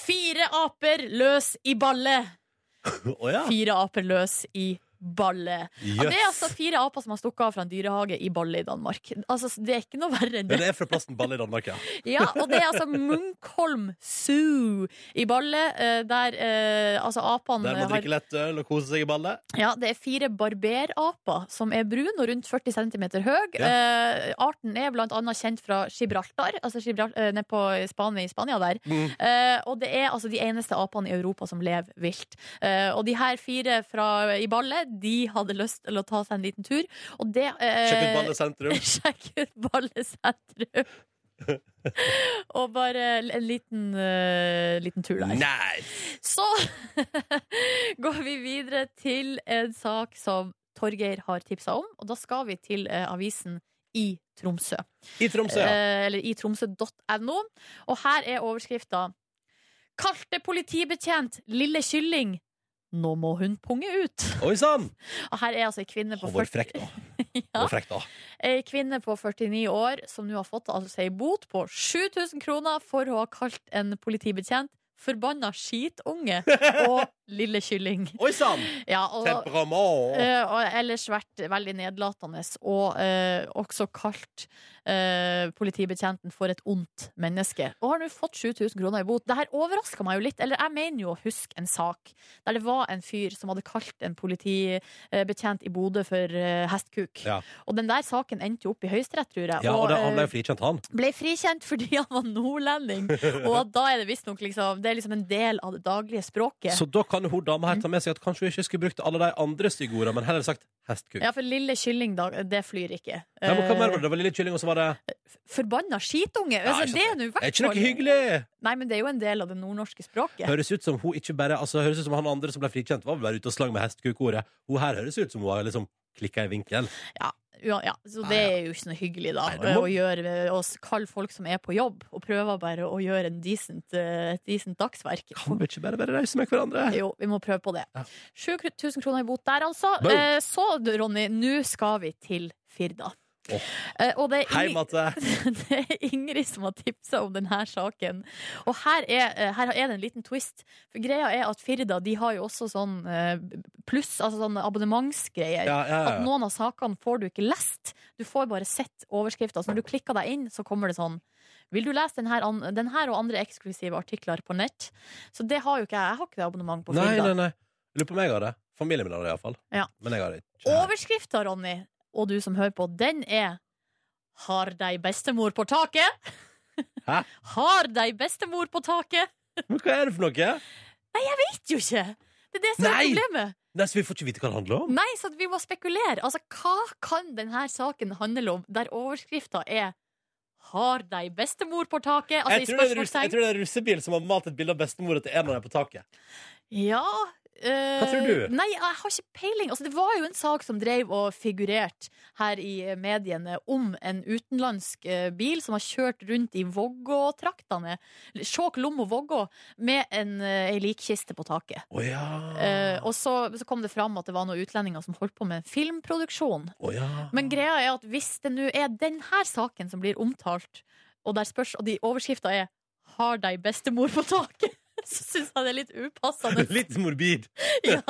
C: Fire aper løs i balle!
B: Å ja.
C: Fire aper løs i balle. Og det er altså
B: Jøss.
C: fire aper som har stukket av fra en dyrehage i Balle i Danmark. Altså, det er ikke noe verre enn det.
B: Men det er fra plassen Balle i Danmark, ja.
C: Ja, og det er altså Munkholm Zoo i Balle, eh, der eh, altså apene
B: Der må
C: har
B: drikke lett øl og kose seg i balle.
C: ja, Det er fire barberaper som er brune og rundt 40 cm høy. Eh, arten er blant annet kjent fra Gibraltar, altså Gibral eh, nede på Spania, i Spania der.
B: Mm.
C: Eh, og det er altså de eneste apene i Europa som lever vilt. Eh, og de her fire fra, i Balle, de hadde lyst til å ta seg en liten tur, og det eh,
B: Sjekk ut Balle sentrum.
C: Sjekk ut ballesentrum. Og bare en liten, eh, liten tur der.
B: Nice!
C: Så går vi videre til en sak som Torgeir har tipsa om, og da skal vi til eh, avisen i Tromsø.
B: I Tromsø, ja.
C: Eh, eller i tromsø.no. Og her er overskrifta. Kalte politibetjent lille kylling. Nå må hun punge ut.
B: Oi sann!
C: Og her Eh, er altså ei kvinne på
B: Hun var frekk, da. Hun
C: Ja.
B: var frekk, da.
C: Ei kvinne på 49 år som nå har fått altså ei bot på 7000 kroner for å ha kalt en politibetjent forbanna skitunge og lille kylling.
B: Oi sann!
C: Ja, og,
B: Temperament!
C: eh, og ellers vært veldig nedlatende og eh, også kalt eh, politibetjenten for et ondt menneske. Og har nå fått 7000 kroner i bot. Det her overraska meg jo litt. Eller jeg mener jo å huske en sak der det var en fyr som hadde kalt en politibetjent i Bodø for eh, hestkuk.
B: Ja.
C: Og den der saken endte jo opp i Høyesterett, tror jeg.
B: Ja, og det, han ble
C: eh,
B: jo frikjent, han.
C: ble frikjent fordi han var nordlending. Og at da er det visstnok liksom, det er liksom en del av det daglige språket.
B: Så da kan hun dama her ta med seg at kanskje hun ikke skulle brukt alle de andre stygge ordene, men heller sagt hestkuk.
C: Ja, for lille kylling, da, det flyr ikke.
B: Nei, men hva mer var
C: Eh,
B: det? Det var lille kylling, og så var det
C: Forbanna skitunge!
B: Ja,
C: Altså,
B: ikke
C: det er nå i
B: Er
C: hvert
B: ikke noe
C: fall
B: hyggelig?
C: Nei, men det er jo en del av det nordnorske språket.
B: Høres ut som hun ikke bare Altså, høres ut som han andre som ble frikjent, var vel bare ute og slang med hestekukordet. Hun her høres ut som hun har liksom klikka i vinkel.
C: Ja, ja, så det er jo ikke noe hyggelig, da.
B: Nei, du må-
C: Å gjøre, å kalle folk som er på jobb, og prøver bare å gjøre en decent, eh, et decent dagsverk.
B: Kan vi ikke bare være rause med hverandre?
C: Jo, vi må prøve på det.
B: Ja.
C: 7000 kroner i bot der, altså.
B: Boom.
C: Eh, Så, Ronny, nå skal vi til Firda.
B: Åh.
C: Eh, Og det er
B: Hei,
C: Ingrid-
B: Matte!
C: det er Ingrid som har tipsa om denne saken. Og her er, eh, her er det en liten twist. For greia er at Firda de har jo også sånn eh, pluss, altså sånn abonnementsgreier.
B: Ja, ja,
C: At
B: ja.
C: noen av sakene får du ikke lest. Du får bare sett overskrifta. Så når du klikker deg inn, så kommer det sånn Vil du lese den her, an den her og andre eksklusive artikler på nett? Så det har jo ikke jeg. Jeg har ikke det abonnement på
B: Nei, nei,
C: Firda.
B: nei. Lurer på om jeg har det. Familien min har det iallfall.
C: Ja.
B: Men jeg har det ikke.
C: Overskrifta, Ronny, og du som hører på, den er Har dei bestemor på taket?
B: Hæ?
C: Har dei bestemor på taket?
B: Men hva er det for noe?
C: vet jo ikke! Det er det som er
B: Nei!
C: problemet.
B: Nei, så vi får ikke vite hva det handler om?
C: Nei, så vi må spekulere. Altså, hva kan denne saken handle om, der overskrifta er 'Har dei bestemor på taket?' Altså,
B: jeg, tror det er en russ, jeg
C: spørsmålstegn.
B: tror det er en russebil som har malt et bilde av bestemora til en av dem på taket.
C: Ja eh,
B: Hva tror du?
C: Nei, jeg har ikke peiling. Altså, det var jo en sak som drev og figurerte her i mediene om en utenlandsk eh, bil som har kjørt rundt i Vågå-traktene, Skjåk, Lom og Vågå, med en, eh, ei likkiste på taket.
B: Å ja.
C: Eh, og så, så kom det fram at det var noen utlendinger som holdt på med filmproduksjon.
B: Å ja.
C: Men greia er at hvis det nå er denne saken som blir omtalt, og der spørs, og de overskrifta er 'Har dei bestemor på taket', så syns jeg det er litt upassende.
B: Litt morbid.
C: Ja.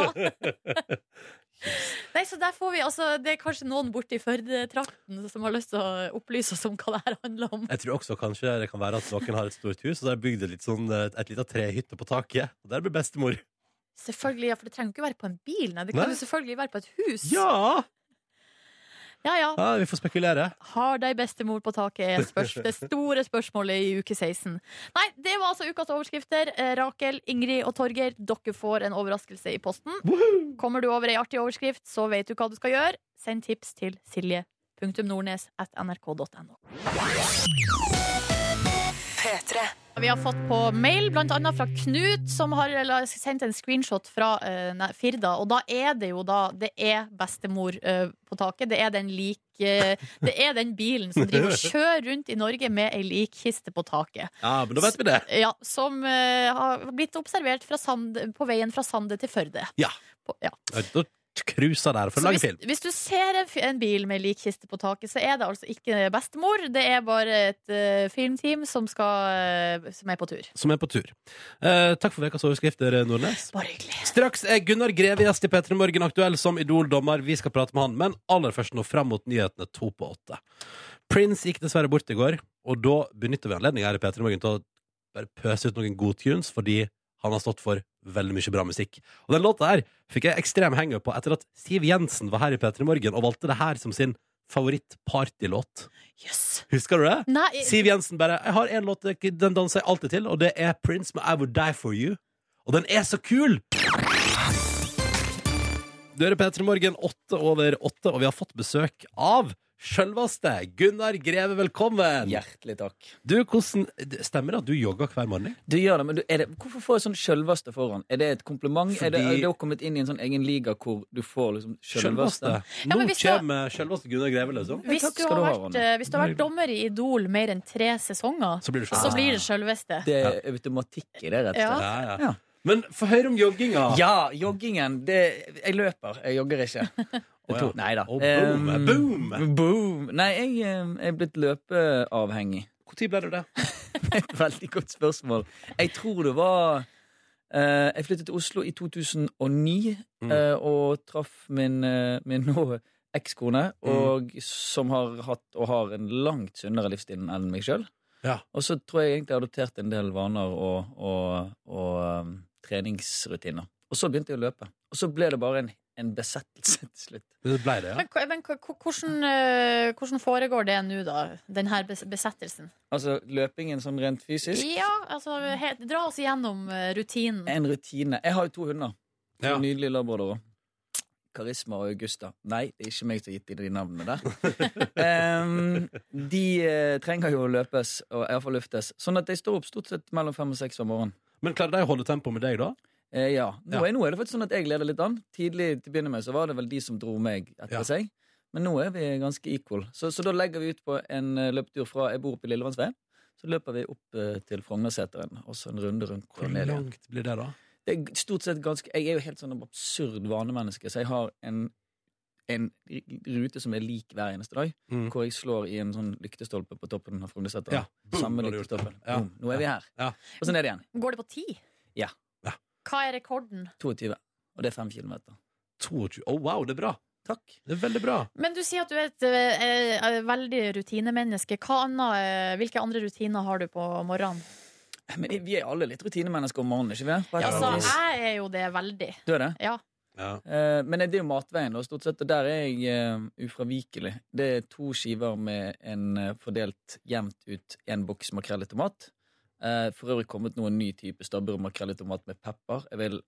C: Nei, så der får vi altså Det er kanskje noen borti Førde-trakten som har lyst til å opplyse oss om hva det her handler om.
B: Jeg tror også kanskje det kan være at noen har et stort hus, og så har de bygd et litt sånn, eh, et lite trehytte på taket. Og der blir bestemor.
C: Selvfølgelig, ja, For det trenger ikke være på en bil, nei. Det kan
B: Nei.
C: jo selvfølgelig være på et hus.
B: Ja!
C: Ja, ja.
B: Ja, vi får spekulere.
C: Har de bestemor på taket? er spørs det store spørsmålet i uke 16. Nei, det var altså ukas overskrifter. Eh, Rakel, Ingrid og Torgeir, dere får en overraskelse i posten. Kommer du over ei artig overskrift, så vet du hva du skal gjøre. Send tips til silje.nordnes.nrk.no. Vi har fått på mail, blant annet fra Knut, som har la- sendt en screenshot fra eh, nei, Firda. Og da er det jo da Det er bestemor eh, på taket. Det er den lik... eh, det er den bilen som driver og kjører rundt i Norge med ei likkiste på taket.
B: Ja, men da vet vi det.
C: Ja, som eh, har blitt observert fra Sand, på veien fra Sande til Førde.
B: Ja.
C: På, ja.
B: Da cruiser der for å
C: Så
B: lage
C: hvis,
B: film.
C: hvis du ser en, fi- en bil med likkiste på taket, så er det altså ikke bestemor. Det er bare et eh, filmteam som, skal, eh, som er på tur.
B: Som er på tur. Eh, takk for ukas overskrifter, Nordnes.
C: Bare hyggelig.
B: Straks er Gunnar Greve gjest i P3 Morgen aktuell som Idol-dommer. Vi skal prate med han, men aller først nå fram mot nyhetene to på åtte. Prince gikk dessverre bort i går, og da benytter vi anledningen her i P3 Morgen til å bare pøse ut noen gode tunes, fordi han har stått for veldig mye bra musikk. Og den låta her fikk jeg ekstrem henger på etter at Siv Jensen var her i P3 Morgen og valgte det her som sin favoritt-partylåt.
C: Jøss!
B: Husker du det?
C: Nei,
B: Siv Jensen bare Jeg har en låt, den danser jeg alltid til, og det er Prince med I Would Die For You. Og den er så kul! Du hører P3 Morgen åtte over åtte, og vi har fått besøk av sjølveste Gunnar Greve. Velkommen!
J: Hjertelig takk.
B: Du, hvordan Stemmer det at du jogger hver morgen?
J: Du gjør det, men du, er det, hvorfor får jeg sånn sjølveste foran? Er det et kompliment? Er det,
B: Fordi-
J: er det kommet inn i en sånn egen liga hvor du får liksom
B: Sjølveste.
J: sjølveste?
C: Ja, men
B: Nå
C: hvis du har-
B: kommer sjølveste Gunnar Greve, liksom.
C: Hvis
J: takk
C: du,
J: skal
C: har
J: du ha,
C: vært,
J: Ronny.
C: eh, hvis du har vært dommer i Idol mer enn tre sesonger,
B: Så blir du
C: så
B: sjølveste.
C: blir det sjølveste.
J: Det er automatikk i det, rett og
C: Ja.
J: slett.
B: Ja, ja.
J: Ja.
B: Men få høre om jogginga.
J: Ja, joggingen. Det, jeg løper. Jeg jogger ikke. Det
B: Å,
J: tok,
B: ja.
J: nei da.
B: Og boom,
J: Em,
B: boom.
J: boom. Nei, jeg em, er blitt løpeavhengig.
B: Når ble du det?
J: Et veldig godt spørsmål. Jeg tror det var eh, Jeg flyttet til Oslo i 2009
B: Mm.
J: eh, og traff min, eh, min nå ekskone,
B: Mm.
J: og som har hatt og har en langt sunnere livsstil enn meg sjøl.
B: Ja.
J: Og så tror jeg egentlig jeg adopterte en del vaner og, og, og um, treningsrutiner. Og så begynte jeg å løpe. Og så ble det bare en, en besettelse til slutt.
B: Det ble det, ja.
C: Men, hva- men hva- hvordan, eh, hvordan foregår det nå, da? Den her bes- besettelsen?
J: Altså løpingen sånn rent fysisk.
C: Ja, altså he- Dra oss gjennom eh, rutinen.
J: En rutine. Jeg har jo to hunder. To
B: Ja.
J: nydelige labradorer. Karisma og Augusta. Nei, det er ikke meg som har gitt dem de navnene der. Em, de eh, trenger jo å løpes, og iallfall luftes. Sånn at de står opp stort sett mellom fem og seks om morgenen.
B: Men klarer de å holde tempo med deg, da?
J: Eh, ja. Nå,
B: Ja.
J: Er, nå er det faktisk sånn at jeg leder litt an. Tidlig til å begynne med så var det vel de som dro meg etter
B: Ja.
J: seg. Men nå er vi ganske equal. Så, så da legger vi ut på en eh, løpetur fra Jeg bor oppe i Lillevannsveien. Så løper vi opp eh, til Frognerseteren og så en runde rundt.
B: Hvor
J: og ned igjen.
B: langt blir det, da?
J: Det er stort sett ganske Jeg er jo helt sånn absurd vanemenneske, så jeg har en, en rute som er lik hver eneste dag,
B: Mm.
J: hvor jeg slår i en sånn lyktestolpe på toppen av Frognerseteren.
B: Ja, boom,
J: Samme
B: nå har du gjort det.
J: lyktestolpen.
B: Ja.
J: Boom, Nå er vi her.
B: Ja.
J: Og så ned igjen.
C: Går det på ti?
J: Ja.
B: Ja.
C: Hva er rekorden?
J: 22. Og det er fem kilometer.
B: 22 Å, wow, det er bra!
J: Takk.
B: Det er veldig bra.
C: Men du sier at du er et eh, eh, veldig rutinemenneske. Hva annet, eh, hvilke andre rutiner har du på morgenen?
J: Men vi er alle litt rutinemennesker om morgenen, ikke vi? På et
C: Ja, altså,
J: eller annet vis.
C: jeg er jo det veldig.
J: Du er det?
C: Ja.
B: Ja.
J: Eh, Men det er jo matveien, da, stort sett. Og der er jeg eh, ufravikelig. Det er to skiver med en eh, fordelt jevnt ut en boks makrell i tomat. Eh, for øvrig kommet noen ny type stabbur makrell i tomat med pepper. Jeg vil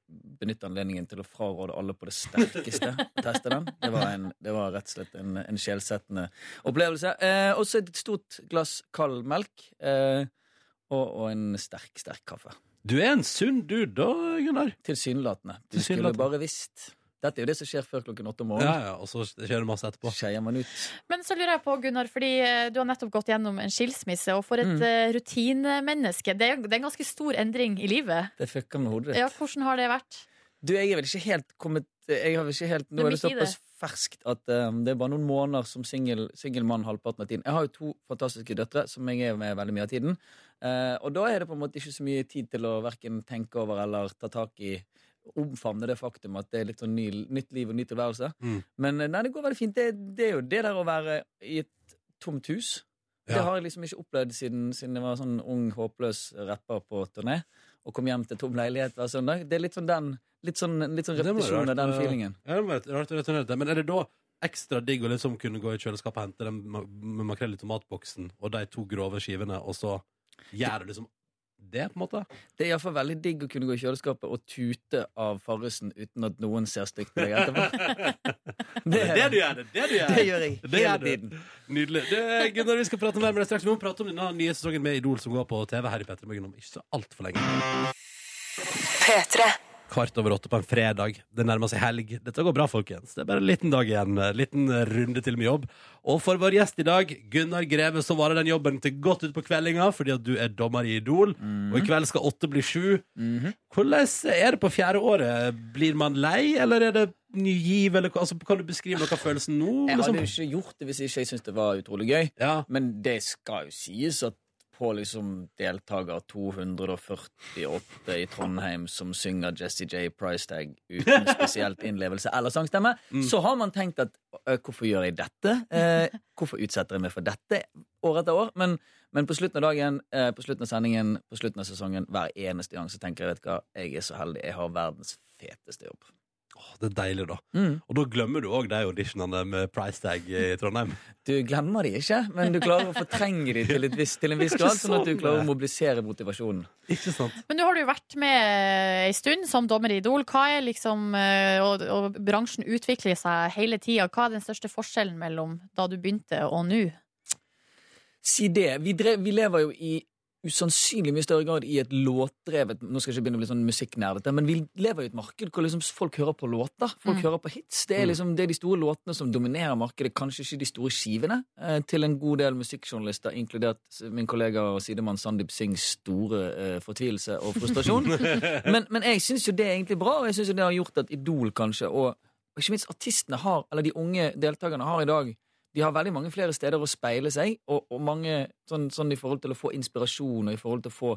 J: benytte anledningen til å fraråde alle på det sterkeste å teste den. Det var, en, det var rett og slett en, en sjelsettende opplevelse. Eh, og så et stort glass kald melk. Eh, og, og en sterk, sterk kaffe.
B: Du er en sunn dude da, Gunnar.
J: Tilsynelatende. Du
B: Tilsynelatende.
J: skulle bare visst. Dette er jo det som skjer før klokken åtte om morgenen.
B: Ja, ja, og så skjer det masse etterpå.
J: Skeier man ut.
C: Men så lurer jeg på, Gunnar, fordi eh, du har nettopp gått gjennom en skilsmisse, og for et
J: Mm.
C: eh, rutinemenneske. Det er, det er en ganske stor endring i livet.
J: Det fucker med hodet ditt.
C: Ja, hvordan har det vært?
J: Du, jeg er vel ikke helt kommet jeg har vel ikke helt, Nå
C: Du
J: er det
C: midt i det.
J: såpass ferskt at um, det er bare noen måneder som singel singel mann halvparten av tiden. Jeg har jo to fantastiske døtre som jeg er med veldig mye av tiden. Eh, og da er det på en måte ikke så mye tid til å verken tenke over eller ta tak i omfavne det faktum at det er litt sånn ny, nytt liv og ny tilværelse.
B: Mm.
J: Men eh, nei, det går veldig fint. Det, det er jo det der å være i et tomt hus. Det
B: Ja.
J: har jeg liksom ikke opplevd siden, siden jeg var sånn ung, håpløs rapper på turné. Og kom hjem til tom leilighet hver søndag. Det er litt sånn den Litt sånn, litt sånn
B: Det må være
J: repetisjon av
B: rart,
J: den
B: eh,
J: feelingen.
B: Ja, det må være rart å returnere til. Men er det da ekstra digg å liksom kunne gå i kjøleskapet og hente den ma- med makrell i tomatboksen og de to grove skivene, og så gjør du liksom det, på en måte.
J: Det er iallfall veldig digg å kunne gå i kjøleskapet og tute av Farrisen uten at noen ser stygt på deg etterpå.
B: Det er det du gjør. Det er det du gjør.
J: Det gjør jeg
B: Det
J: hele
B: gjør du.
J: tiden.
B: Nydelig. Du, Gunnar, vi skal prate mer med deg straks. Vi må prate om denne nye sesongen med Idol som går på TV her i Petter Morgen om ikke så altfor lenge. Kvart over åtte på en fredag. Det nærmer seg helg. Dette går bra, folkens. Det er bare en liten dag igjen. En liten runde til med jobb. Og for vår gjest i dag, Gunnar Greve, så varer den jobben til godt utpå kveldinga fordi at du er dommer i Idol. Og i kveld skal åtte bli sju. Hvordan er det på fjerde året? Blir man lei, eller er det ny giv? Eller, altså, kan du beskrive noe av følelsen nå?
J: Jeg hadde
B: liksom?
J: jo ikke gjort det hvis ikke jeg syntes det var utrolig gøy. Men det skal jo sies at på liksom deltaker 248 i Trondheim som synger Jesse J. Pricetag uten spesielt innlevelse eller sangstemme, så har man tenkt at «Ø, hvorfor gjør jeg dette? Eh, hvorfor utsetter jeg meg for dette år etter år? Men, men på slutten av dagen, eh, på slutten av sendingen, på slutten av sesongen, hver eneste gang så tenker jeg vet du hva, jeg er så heldig, jeg har verdens feteste jobb.
B: Det er deilig, da. Og da glemmer du òg de auditionene med price tag i Trondheim.
J: Du glemmer de ikke, men du klarer å fortrenge de til, et visst- til en viss grad, sånn at du klarer å mobilisere motivasjonen.
B: Ikke sant?
C: Men nå har du jo vært med ei stund som dommer i Idol. Hva er liksom, eh, og, og bransjen utvikler seg hele tida. Hva er den største forskjellen mellom da du begynte og nå?
J: Si det. Vi, drev, vi lever jo i usannsynlig mye større grad i et låtdrevet Nå skal jeg ikke begynne å bli sånn musikknerdete, men vi lever i et marked hvor liksom folk hører på låter. Folk hører på hits. Det er liksom det er de store låtene som dominerer markedet, kanskje ikke de store skivene. Eh, til en god del musikkjournalister, inkludert min kollega og sidemann Sandeep Singhs store eh, fortvilelse og frustrasjon. men, men jeg syns jo det er egentlig bra, og jeg syns jo det har gjort at Idol, kanskje, og og ikke minst artistene har, eller de unge deltakerne har i dag de har veldig mange flere steder å speile seg, og, og mange sånn, sånn i forhold til å få inspirasjon og i forhold til å få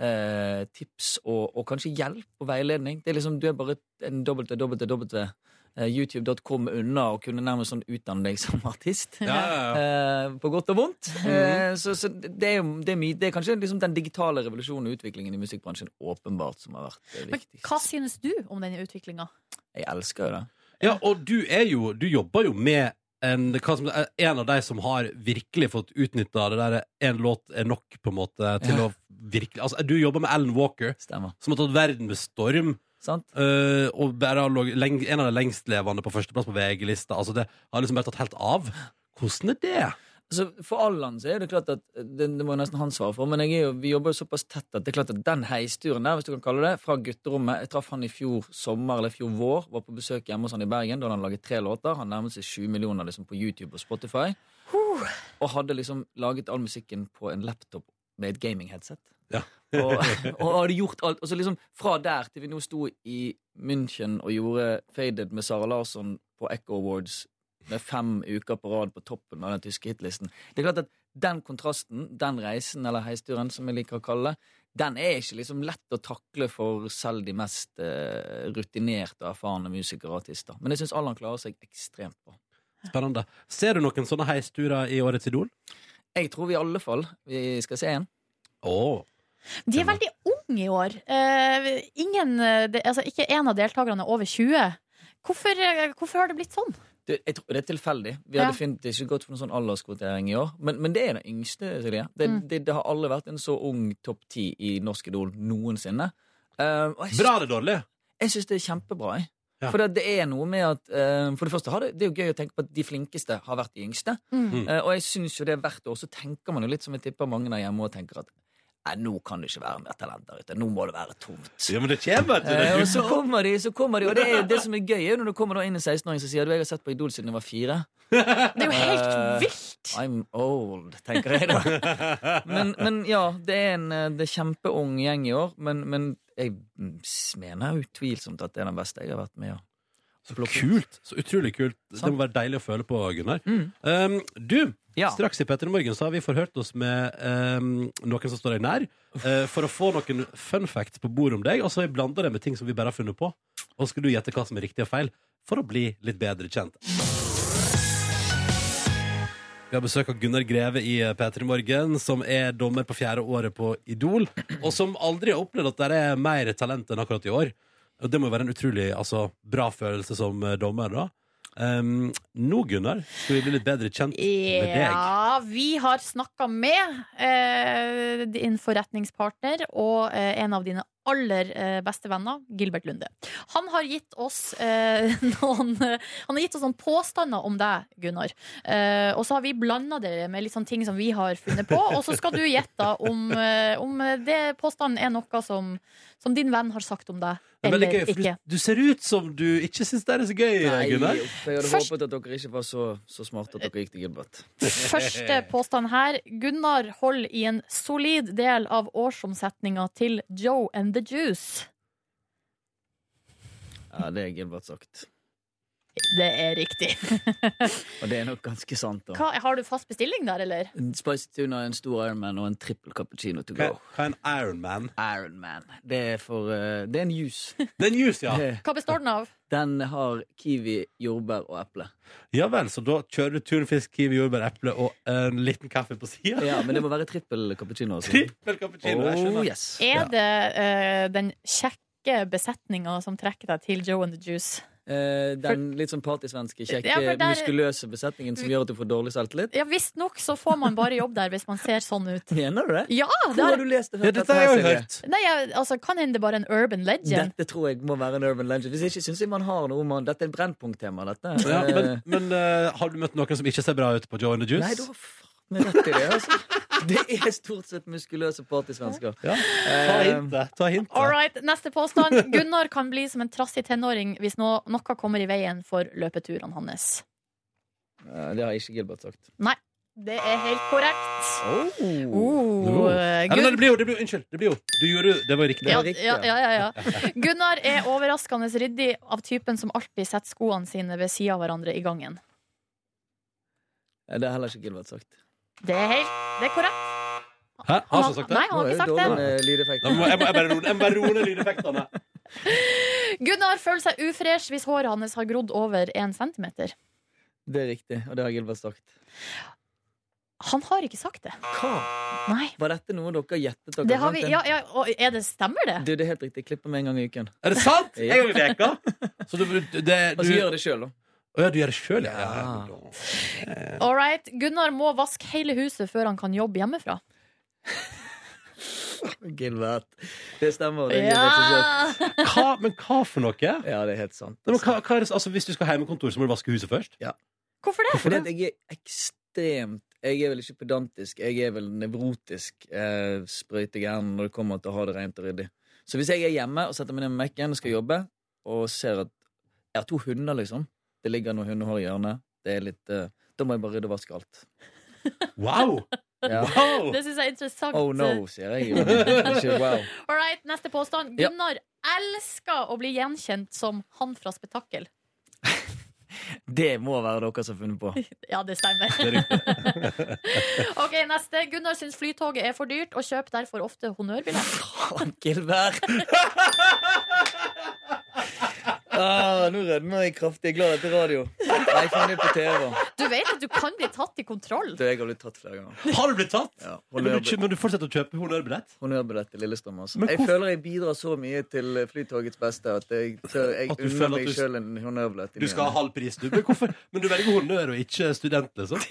J: eh, tips og, og kanskje hjelp og veiledning. Det er liksom, Du er bare en www. eh, YouTube.com unna og kunne nærmest sånn utdanne deg som artist.
B: ja,
J: Eh, på godt og vondt.
C: Mhm.
J: Eh, så så det, er, jo- det, er mye, det er kanskje liksom den digitale revolusjonen og utviklingen i musikkbransjen åpenbart som har vært eh,
C: Men
J: viktig.
C: hva synes du om denne utviklinga?
J: Jeg elsker jo det.
B: Ja, og du er jo Du jobber jo med en, hva som, en av de som har virkelig fått utnytta det der en låt er nok, på en måte, til
J: Ja.
B: å virkelig Altså, du jobber med Alan Walker,
J: Stemmer.
B: som har tatt verden med storm.
J: Sant?
B: eh, og bare har log- leng, en av de lengstlevende på førsteplass på VG-lista. Altså, det har liksom bare tatt helt av. Hvordan er det?
J: Altså, for Allan så er det klart at eh, det, det må jo nesten han svare for, men jeg er jo, vi jobber jo såpass tett at det er klart at den heisturen der, hvis du kan kalle det, fra gutterommet Jeg traff han i fjor sommer eller fjor vår, var på besøk hjemme hos han i Bergen. Da hadde han laget tre låter. Han nærmet seg sju millioner liksom, på YouTube og Spotify. Og hadde liksom laget all musikken på en laptop med et gaming-headset. og, og hadde gjort alt. Og så liksom Fra der til vi nå sto i München og gjorde Faded med Sara Larsson på Echo Awards med fem uker på rad på toppen av den tyske hitlisten. Det er klart at Den kontrasten, den reisen, eller heisturen, som jeg liker å kalle det, den er ikke liksom lett å takle for selv de mest eh, rutinerte og erfarne musikere og artister. Men jeg syns Allan klarer seg ekstremt bra.
B: Spennende. Ser du noen sånne heisturer i årets Idol?
J: Jeg tror vi i alle fall vi skal se en.
B: Åh
C: De er veldig unge i år. Eh, ingen, eh, det- altså, ikke én av deltakerne er over 20. Hvorfor, eh, hvorfor har det blitt sånn?
J: Du, jeg tror det er tilfeldig. Vi
C: Ja.
J: har definitivt ikke gått for noen sånn alderskvotering i år. Men, men det er den yngste, Silje. Det,
C: Mm.
J: det, det har aldri vært en så ung topp ti i Norsk Idol noensinne. Eh,
B: Bra eller dårlig?
J: Jeg syns det er kjempebra. Jeg.
B: Ja.
J: For det, det er noe med at eh, For det første har det, det er jo gøy å tenke på at de flinkeste har vært de yngste.
E: Mm.
J: Eh, og jeg syns jo det er hvert år så tenker man jo litt som jeg tipper mange der hjemme og tenker at Nei, nå kan det ikke være mer talent der ute. Nå må det være tomt.
B: Ja, men det kommer til
J: Eh, og så kommer de, så kommer de. Og det, er, det som er gøy, er jo når du kommer da inn en 16-åring som sier du, jeg har sett på Idol siden jeg var fire.
C: Det er jo helt
J: Eh,
C: vilt!
J: I'm old, tenker jeg da. Men, men ja, det er en eh, det er kjempeung gjeng i år. Men, men jeg mm, s- mener utvilsomt at det er den beste jeg har vært med i.
B: Så kult! Så utrolig kult.
J: Sånn.
B: Det må være deilig å føle på, Gunnar.
J: Mm.
B: Um, du, straks i Petter i morgen så har vi forhørt oss med um, noen som står deg nær, eh, for å få noen fun facts på bordet om deg, og så har vi blanda det med ting som vi bare har funnet på. Og skal du gjette hva som er riktig og feil, for å bli litt bedre kjent. Vi har besøk av Gunnar Greve i P3 Morgen, som er dommer på fjerde året på Idol, og som aldri har opplevd at det er mer talent enn akkurat i år. Og det må jo være en utrolig altså, bra følelse som eh, dommer, da. Um, nå, Gunnar, skal vi bli litt bedre kjent med deg.
C: Ja, vi har snakka med eh, din forretningspartner og eh, en av dine aller eh, beste venner, Gilbert Lunde. Han har gitt oss eh, noen eh, Han har gitt oss noen påstander om deg, Gunnar. Eh, og så har vi blanda det med litt sånn ting som vi har funnet på, og så skal du gjette da om, eh, om det påstanden er noe som, som din venn har sagt om deg,
B: Det er veldig
C: eller
B: gøy, for
C: ikke.
B: du, du ser ut som du ikke syns det er så gøy,
J: Nei,
B: Gunnar.
J: jeg hadde håpet at dere ikke var så, så smarte at dere gikk til Gilbert.
C: Første påstand her. Gunnar holder i en solid del av årsomsetninga til Joe and the Juice.
J: Ja, det er Gilbert sagt.
C: Det er riktig.
J: Og det er nok ganske sant, da.
C: Hva, har du fast bestilling der, eller?
J: En Spicy tuna, en stor Ironman og en trippel cappuccino to go.
B: Hva hva er en Ironman?
J: Ironman. Det er for eh, Det er en juice.
B: Det er en juice, ja.
J: Det-
C: Hva består den av?
J: Den har kiwi, jordbær og eple.
B: Ja vel, så da kjører du tunfisk, kiwi, jordbær, eple og en liten kaffe på sida?
J: Ja, men det må være trippel cappuccino. Altså.
B: Trippel cappuccino, jeg
J: Oh,
B: skjønner.
J: yes.
C: Er det eh, den kjekke besetninga som trekker deg til Joe and the Juice?
J: Eh, den litt sånn partysvenske, kjekke,
C: Ja, for der-
J: muskuløse besetningen som gjør at du får dårlig selvtillit?
C: Ja visstnok så får man bare jobb der hvis man ser sånn ut.
J: Mener du det?
C: Ja!
J: Hvor
C: Det
J: har
C: er,
J: du lest og
B: Ja,
J: hørt
B: dette har jeg jo
J: Silje?
B: hørt.
C: nei, jeg, altså, kan hende det bare er en urban legend.
J: Dette tror jeg må være en urban legend. Hvis ikke syns jeg man har noe man Dette er brennpunkttema, dette.
B: Ja,
J: Eh,
B: men men eh, har du møtt noen som ikke ser bra ut på Joe and the Juice?
J: Nei, du har faen meg rett i det, altså. Det er stort sett muskuløse partysvensker.
B: Ja. Ta
J: Eh.
B: hintet. Ta hintet.
C: All right, neste påstand. Gunnar kan bli som en trassig tenåring hvis nå- noe kommer i veien for løpeturene hans.
J: Eh, Det har ikke Gilbert sagt.
C: Nei, det er helt korrekt.
J: Oh.
C: Oh, eh,
B: Nei, men
C: Gun-
B: det blir jo, det blir jo, unnskyld. Det blir jo. Du gjorde det var riktig.
C: ja,
J: var riktig,
C: ja, ja, ja, ja. Gunnar er overraskende ryddig av typen som alltid setter skoene sine ved sida av hverandre i gangen.
J: Det har heller ikke Gilbert sagt.
C: Det er helt det er korrekt.
B: Hæ? Har han som sagt det?
C: Nei, han har ikke sagt det.
J: med
B: Da må
J: lydeffekter.
B: jeg, jeg, må- jeg bare roe- jeg må bare roe ned lydeffektene.
C: Gunnar føler seg ufresh hvis håret hans har grodd over én centimeter.
J: Det er riktig, og det har Gilbert sagt.
C: Han har ikke sagt det.
J: Hva?
C: Nei.
J: Var dette noe dere gjettet dere?
C: Det har vi,
J: fant inn?
C: ja, ja, og er det, stemmer det?
J: Du, det er helt riktig. Klipper meg en gang i uken.
B: Er det sant?
J: Ja.
B: En gang i veka? Så du, du, det,
J: Og
B: du,
J: så gjør jeg det sjøl, da.
B: Å ja, du gjør det sjøl, ja.
J: Ja.
C: All right. Gunnar må vaske hele huset før han kan jobbe hjemmefra.
J: Gilbert. Det stemmer. Det er Gilbert som sagt.
B: Hva, men hva for noe? Nei,
J: Ja, det er helt sant.
B: men hva, hva er det, altså, hvis du skal ha hjemmekontor, så må du vaske huset først?
C: Hvorfor det?
J: Fordi at jeg er ekstremt Jeg er vel ikke pedantisk, jeg er vel nevrotisk eh, sprøytegæren når det kommer til å ha det rent og ryddig. Så hvis jeg er hjemme og setter meg ned med Mac-en og skal jobbe, og ser at jeg har to hunder, liksom Det ligger noen hundehår i hjørnet. Det er litt eh, Da må jeg bare rydde og vaske alt.
B: Wow!
J: Ja.
B: wow.
C: Det syns jeg er interessant. eh,
J: Oh no, sier jeg. Ikke wow.
C: All right, neste påstand.
J: Ja.
C: Gunnar elsker å bli gjenkjent som han fra Spetakkel.
J: Det må være dere som har funnet på.
C: Ja, det stemmer.
B: Det er riktig.
C: Ok, neste. Gunnar syns flytoget er for dyrt, og kjøper derfor ofte honnørbillett.
J: Faen, Gilbert! ah, nå rødmer jeg kraftig. Jeg er glad dette er radio. Nei, faen, det er på TV.
C: Du vet at du kan bli tatt i kontroll.
J: Du, jeg har blitt tatt flere ganger.
B: Har du blitt tatt?
J: Ja,
B: Men du,
J: honnørbe-
B: men du fortsetter å kjøpe honnørbillett?
J: Honnørbillett til Lillestrøm. Altså.
B: Men
J: Jeg
B: hvorfor-
J: føler jeg bidrar så mye til Flytogets beste at jeg, tør, jeg
B: At du føler
J: unner
B: at
J: meg
B: du-
J: sjøl en honnørbillett. i
B: Du
J: ny
B: skal ha
J: og ne.
B: halv pris, du. Men, hvorfor? men du velger honnør og ikke student, liksom?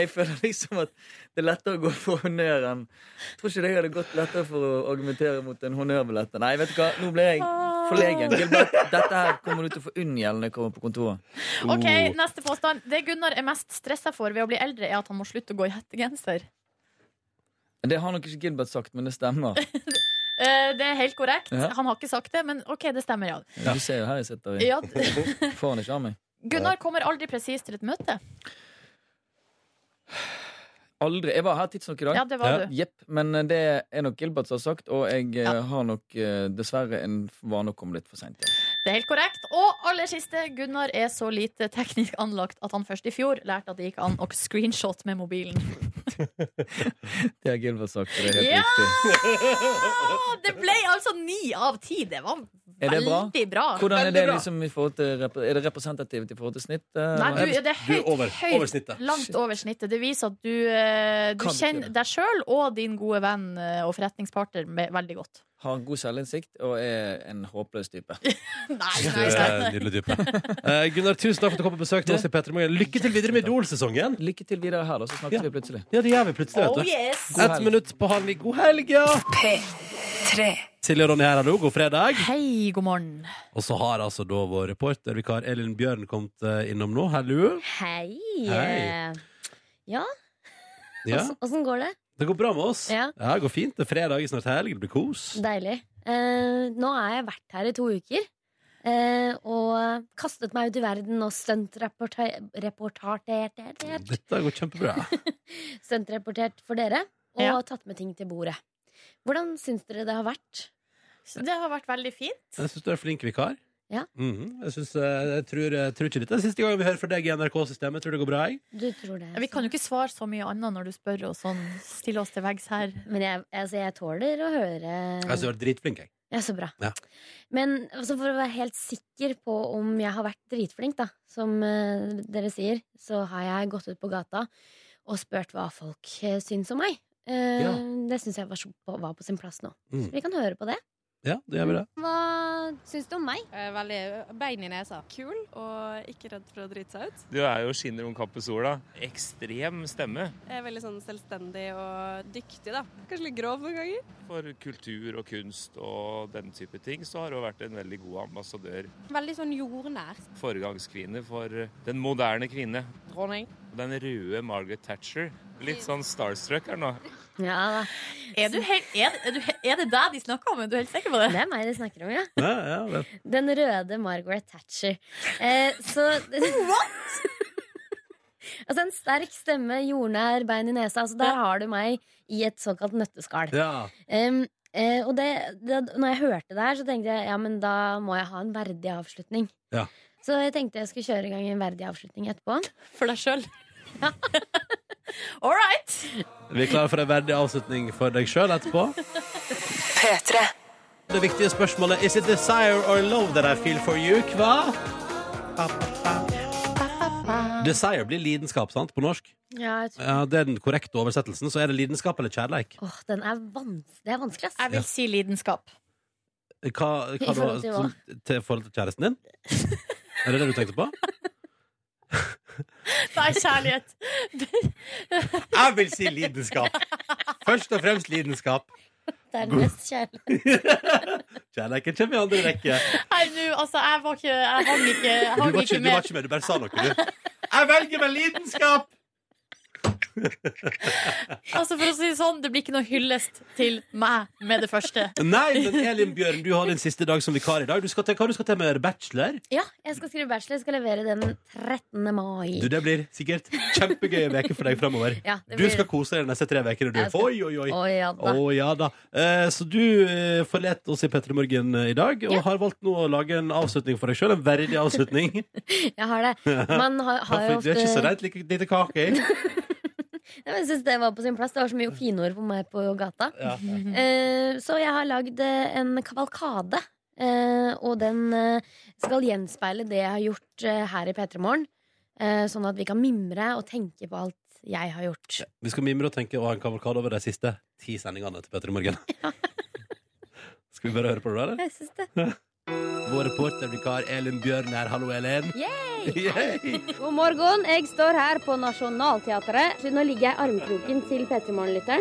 J: Jeg føler liksom at det er lettere å gå for honnør enn Jeg Tror ikke det hadde gått lettere for å argumentere mot en honnørbillett. Nei, vet du hva, nå ble jeg forlegen. Gilbert, dette her kommer du til å få unngjeld når jeg kommer på kontoret.
C: Ok, neste påstand. Det Gunnar er mest stressa for ved å bli eldre, er at han må slutte å gå i hettegenser.
J: Det har nok ikke Gilbert sagt, men det stemmer.
C: Eh, Det er helt korrekt.
J: Ja.
C: Han har ikke sagt det, men OK, det stemmer, ja.
J: Du ser jo her jeg sitter. Jeg
C: ja.
J: får han ikke av meg.
C: Gunnar kommer aldri presis til et møte.
J: Aldri. Jeg var her tidsnok i dag.
C: Ja, det var du.
J: Jepp. Men eh, det er nok Gilbert som har sagt, og jeg eh, har nok eh, dessverre en vane å komme litt for seint. Ja.
C: Det er helt korrekt. Og aller siste, Gunnar er så lite teknisk anlagt at han først i fjor lærte at det gikk an å screenshot med mobilen.
J: Det har Gilbert sagt, og det er helt
C: Ja!
J: riktig.
C: Ah, Det ble altså ni av ti! Det var
J: Er det bra?
C: Veldig bra.
J: Hvordan er det,
C: Veldig bra.
J: liksom, i forhold til, rep- er det representativt i forhold til snitt? eh,
C: Nei, du,
J: eller?
C: det er høyt, høyt langt over snittet. Det viser at du, eh, du
J: Kan ikke
C: kjenner deg sjøl og din gode venn eh, og forretningspartner med, veldig godt.
J: Har god selvinnsikt og er en håpløs type.
B: Du er en nydelig type. Eh, Gunnar, tusen takk for at du kom på besøk til oss i Petter i Morgen. Lykke til videre med Idol-sesongen.
J: Lykke til videre her, da, så snakkes vi plutselig.
B: Ja, det gjør vi plutselig.
J: Oh,
B: vet du.
J: yes. God
B: Ett
J: helg.
B: minutt på halv ni. God helg, ja! Silje og Ronny her, hallo. God fredag.
C: Hei, god morgen.
B: Og så har altså da vår reportervikar Elin Bjørn kommet eh, innom nå. Hallo.
A: Hei.
B: Hei.
A: Ja,
B: Ja.
A: åssen- åssen går det?
B: Altså, Det går bra med oss.
A: Ja.
B: det går fint. Det er fredag, snart helg. Det blir kos.
A: Deilig. Eh, nå har jeg vært her i to uker. eh, og kastet meg ut i verden og stuntreportert
B: Dette går kjempebra.
A: stuntreportert for dere. Og
C: Ja.
A: tatt med ting til bordet. Hvordan syns dere det har vært?
C: Det har vært veldig fint.
B: Jeg syns du er flink vikar.
A: Ja.
B: Mhm. jeg, synes, eh, jeg, tror, jeg tror ikke dette er siste gang vi hører fra deg i NRK-systemet. Tror du det går bra? Jeg?
A: Du tror det.
C: Vi kan jo ikke svare så mye annet når du spør og sånn stille oss til veggs her.
A: Men jeg, altså, jeg tåler å
B: Jeg
A: høre
B: syns du er dritflink. Jeg.
A: Ja, så bra.
B: Ja.
A: Men altså, for å være helt sikker på om jeg har vært dritflink, da, som eh, dere sier, så har jeg gått ut på gata og spurt hva folk eh, syns om meg. Eh,
B: Ja.
A: Det syns jeg var, så- på- var på sin plass nå.
B: Mm.
A: Så vi kan høre på det.
B: Ja, det gjør vi det.
A: Hva syns du om meg?
K: Veldig bein i nesa. Kul og ikke redd for å drite seg ut.
L: Du er jo skinner om kapp i sola. Ekstrem stemme
K: Jeg er veldig sånn selvstendig og dyktig, da. Kanskje litt grov noen ganger.
L: for kultur og kunst og den type ting. Så har hun vært en veldig god ambassadør.
K: Veldig sånn jordnær.
L: Foregangskvinne for den moderne kvinne.
K: Dronning.
L: Den røde Margaret Thatcher. Litt sånn starstruck her nå.
C: Er, du helt, er, det- er, du, he- er det deg de snakker om? Er du helt sikker på det?
A: Det er meg de snakker om, ja.
B: Ja, ja, det.
A: Den røde Margaret Thatcher. Eh, så What?! altså en sterk stemme, jordnær, bein i nesa. Altså, der har du meg i et såkalt nøtteskall.
B: Ja.
A: Em, eh, og det, det, når jeg hørte det her, så tenkte jeg ja, men da må jeg ha en verdig avslutning.
B: Ja.
A: Så jeg tenkte jeg skulle kjøre i gang en verdig avslutning etterpå.
C: For deg sjøl? All right!
B: Vi er klare for en verdig avslutning for deg sjøl etterpå. Det viktige spørsmålet Is it desire or love that I feel for you? Hva? Pa, pa, pa. Desire blir lidenskap, sant? På norsk.
A: Ja, jeg tror.
B: Ja, det er den korrekte oversettelsen. Så er det lidenskap eller kjærleik?
A: Åh, den er vans det er vanskelig, ass.
C: Jeg
B: vil Ja.
C: si lidenskap.
B: Hva, hva
A: I forhold til
B: da-
A: hva?
B: som- til forhold til kjæresten din? Er det det du tenkte på?
C: Nei, kjærlighet.
B: Jeg vil si lidenskap. Først og fremst lidenskap.
A: Det er
B: God.
A: den mest kjærlige.
B: Kjærleiken kommer i andre rekke.
C: Nei, nå, altså, jeg var ikke Jeg hang ikke, jeg
B: Du
C: hang
B: var ikke,
C: ikke
B: du var
C: med.
B: ikke med, du bare sa noe, du. Jeg velger meg lidenskap!
C: Altså, for å si det sånn, det blir ikke noe hyllest til meg med det første.
B: Nei, men Elin Bjørn, du har din siste dag som vikar i dag. Du skal til, hva du skal til med bachelor?
A: Ja, jeg skal skrive bachelor. Jeg skal levere den 13. mai.
B: Du, Det blir sikkert kjempegøye uker for deg framover.
A: Ja, det
B: Du
A: blir-
B: skal kose deg de neste tre ukene, du.
A: Jeg skal-
B: Oi, oi, oi.
A: Å, ja da.
B: Å, ja da. Eh, så du eh, forlot oss i P3 Morgen eh, i dag, og har valgt nå å lage en avslutning for deg sjøl. En verdig avslutning.
A: Jeg har det. Man har, har jo
B: For Du er ikke så
A: ofte
B: redd like lite kake.
A: Ja, men Jeg synes det var på sin plass. Det var så mye finord på meg på gata.
B: Ja.
A: Eh, Så jeg har lagd eh, en kavalkade. eh, Og den eh, skal gjenspeile det jeg har gjort eh, her i P3 Morgen. eh, Sånn at vi kan mimre og tenke på alt jeg har gjort.
B: Vi skal mimre og tenke og ha en kavalkade over de siste ti sendingene til P3 Morgen. Skal vi bare høre på det, da, eller?
A: Jeg synes det.
B: Vår reportervikar Elin Bjørn her. Hallo, Elin. Yay!
M: God morgen. Jeg står her på Nationaltheatret. Så Nå ligger jeg i armkroken til P3 Morgen-lytteren.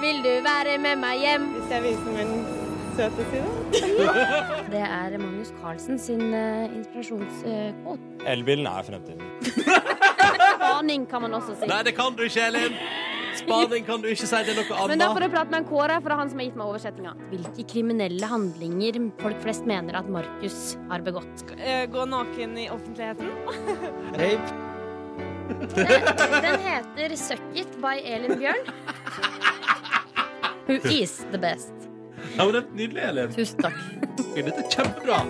M: Vil du være med meg hjem? Hvis jeg viser min søte side.
A: Det er Magnus Carlsen sin eh, inspirasjonskåt.
N: Elbilen er fremtiden.
M: Spaning kan man også si.
B: Nei, det kan du ikke, Elin. Spaning kan du ikke si. Det er noe
M: Men da får
B: annet.
M: du prate med en Kåre, for det er han som har gitt meg oversettinga.
A: Hvilke kriminelle handlinger folk flest mener at Markus har begått?
K: Eh, Gå naken i offentligheten.
A: Den heter 'Suck It' by Elin Bjørn. Who is the best?
B: Ja, men det er nydelig, Elin.
C: Tusen takk.
B: Dette er kjempebra.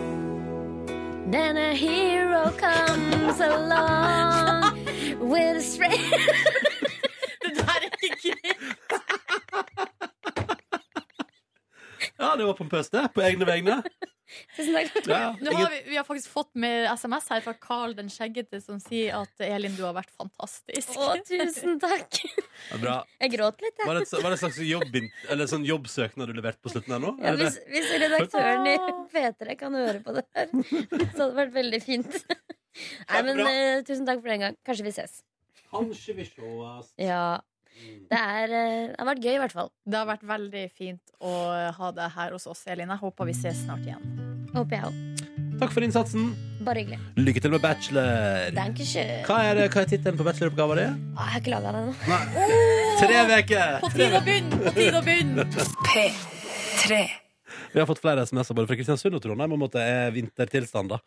A: Then a hero comes along with a straight
C: Det der er ikke greit.
B: det var pompøst, det. På egne vegne.
A: Tusen takk.
B: Ja,
C: Nå har vi, vi har faktisk fått med SMS her fra Carl den skjeggete, som sier at Elin, du har vært fantastisk.
A: Å, tusen takk.
B: Ja, bra.
A: Jeg gråt litt,
B: Var det,
A: jeg.
B: et- var det en slags jobb, eller sånn jobbsøknad du leverte på slutten her nå?
A: Ja,
B: Er det
A: hvis,
B: det?
A: hvis redaktøren i P3 kan høre på det her, så hadde det vært veldig fint. Nei, men eh, tusen takk for den gang. Kanskje vi ses.
B: Kanskje vi sjåast.
A: Ja. Det, er, eh, det har vært gøy, i hvert fall.
C: Det har vært veldig fint å ha deg her hos oss, Elin. Jeg håper vi ses snart igjen.
A: Håper jeg òg.
B: Takk for innsatsen.
A: Bare hyggelig.
B: Lykke til med bachelor.
A: Dankeschön.
B: Hva er, hva er tittelen på bacheloroppgaven din?
A: Å, Jeg har ikke laga den ennå.
B: Tre uker!
A: På tide å begynne, på tide å begynne.
C: P3.
B: Vi har fått flere SMS-er både fra Kristiansund og Trondheim om at det er vintertilstand. da.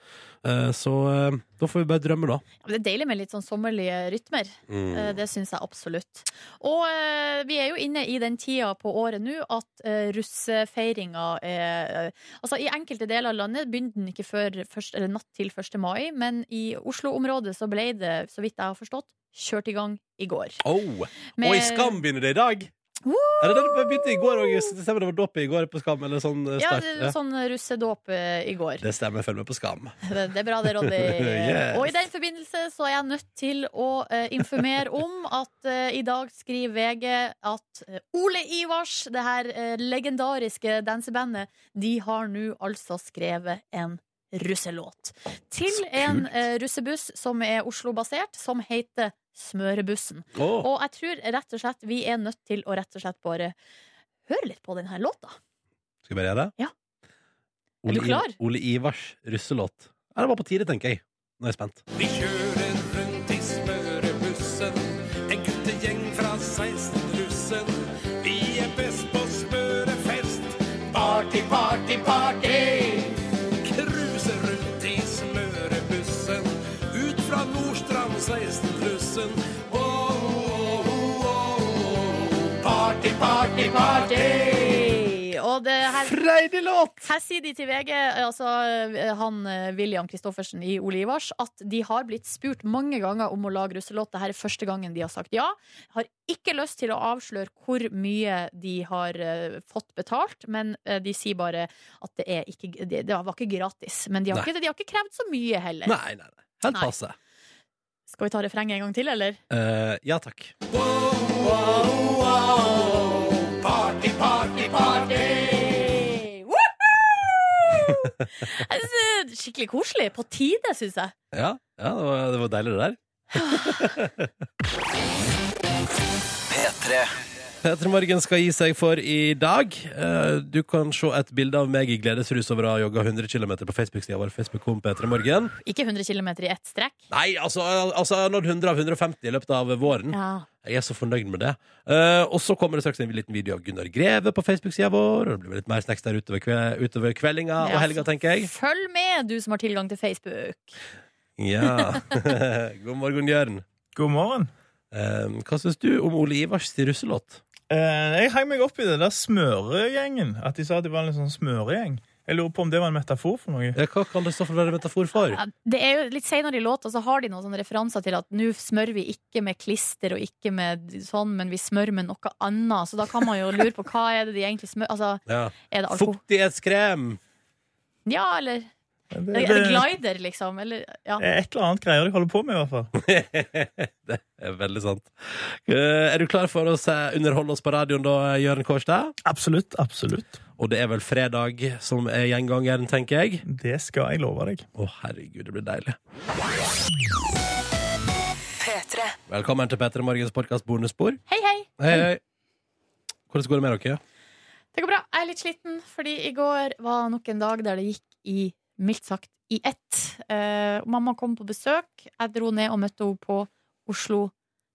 B: Eh, Så eh, da får vi bare drømme, da.
C: Ja, men det er deilig med litt sånn sommerlige rytmer.
B: Mm.
C: Eh, Det syns jeg absolutt. Og eh, vi er jo inne i den tida på året nå at eh, russefeiringa er Altså, i enkelte deler av landet begynte den ikke før først, eller natt til 1. mai, men i Oslo-området så ble det, så vidt jeg har forstått, kjørt i gang i går.
B: Oh.
C: Med-
B: Og i Skam begynner det i dag! Er det det det begynte i går òg? Stemmer det var dåp i går på Skam? Eller sånn eh,
C: Ja,
B: start?
C: det,
B: Ja.
C: sånn russedåp eh, i går.
B: Det stemmer. Følg med på Skam.
C: Det, det er bra det, Ronny.
B: Yes.
C: Og i den forbindelse så er jeg nødt til å eh, informere om at eh, i dag skriver VG at eh, Ole Ivars, det her eh, legendariske dansebandet, de har nå altså skrevet en russelåt. Til en eh, russebuss som er Oslo-basert, som heter Smørebussen.
B: Åh.
C: Og jeg tror rett og slett vi er nødt til å rett og slett bare høre litt på denne låta.
B: Skal vi bare gjøre det?
C: Ja.
B: Ole,
C: Er du
B: Iv-
C: klar?
B: Ole Ivars russelåt. Ja, det var på tide, tenker jeg. Nå er jeg spent.
E: Vi kjører rundt i smørebussen En guttegjeng fra 16 russen Vi er best på smørefest Party, party, party Kruser rundt i smørebussen Ut fra Nordstrand 16 russen oh, oh, oh, oh, oh. Party, party, party
C: Og det her
B: Freidig låt!
C: Her sier de til VG, altså eh, han eh, William Kristoffersen i Ole Ivars, at de har blitt spurt mange ganger om å lage russelåt. Dette er første gangen de har sagt ja. Har ikke lyst til å avsløre hvor mye de har eh, fått betalt, men eh, de sier bare at det, er ikke, det, det var ikke gratis. Men de har,
B: Nei.
C: ikke, de har ikke krevd så mye heller.
B: Nei, nei, nei. Helt
C: Nei.
B: passe.
C: Skal vi ta refrenget en gang til, eller?
B: Eh, ja takk.
E: Party, party, party
C: Jeg synes det er Skikkelig koselig. På tide, syns jeg.
B: Ja, ja det, var, det var deilig, det der.
E: P3
B: Petter Morgen skal gi seg for i dag. Eh, Du kan se et bilde av meg i gledesrus over å ha jogga 100 km på Facebook-sida vår. Facebook-kom Petter Morgen.
C: Ikke 100 km i ett strekk.
B: Nei, altså, altså jeg har nådd 100 av 150 i løpet av våren.
C: Ja.
B: Jeg er så fornøyd med det. Eh, og så kommer det straks en liten video av Gunnar Greve på Facebook-sida vår. Og det blir litt mer snacks der utover, kve, utover kveldinga og
C: Ja,
B: helga, tenker jeg.
C: Følg med, du som har tilgang til Facebook.
B: Ja. God morgen, Jørn.
N: God morgen.
B: Ehm, hva syns du om Ole Ivars til russelåt?
N: Eh, jeg hang meg opp i det der smøregjengen. At de sa at de var en litt sånn smøregjeng. Jeg lurer på om det var en metafor for noe.
B: hva kan det så for være metafor for?
C: Ja, Det er jo Litt senere i låta så har de noen sånne referanser til at nå smører vi ikke med klister og ikke med sånn, men vi smører med noe annet. Så da kan man jo lure på hva er det de egentlig smører Altså,
B: Ja.
C: er det alkohol?
B: Fuktighetskrem!
C: Ja, eller
N: det-
C: Er det glider, liksom? Eller ja.
N: Det er Et eller annet greier de holder på med, i hvert fall.
B: det er veldig sant. Eh, Er du klar for å se- underholde oss på radioen da, Jørn Kårstad?
N: Absolutt, absolutt.
B: Og det er vel fredag som er gjengangeren, tenker jeg?
N: Det skal jeg love deg.
B: Å, herregud, det blir deilig. Velkommen til Petter Morgens podkast bonusspor.
C: Hei, hei.
B: Hei, hei. Hvordan går det med dere?
C: Det går bra. Jeg er litt sliten, fordi i går var nok en dag der det gikk i mildt sagt i ett. Eh, mamma kom på besøk. Jeg dro ned og møtte henne på Oslo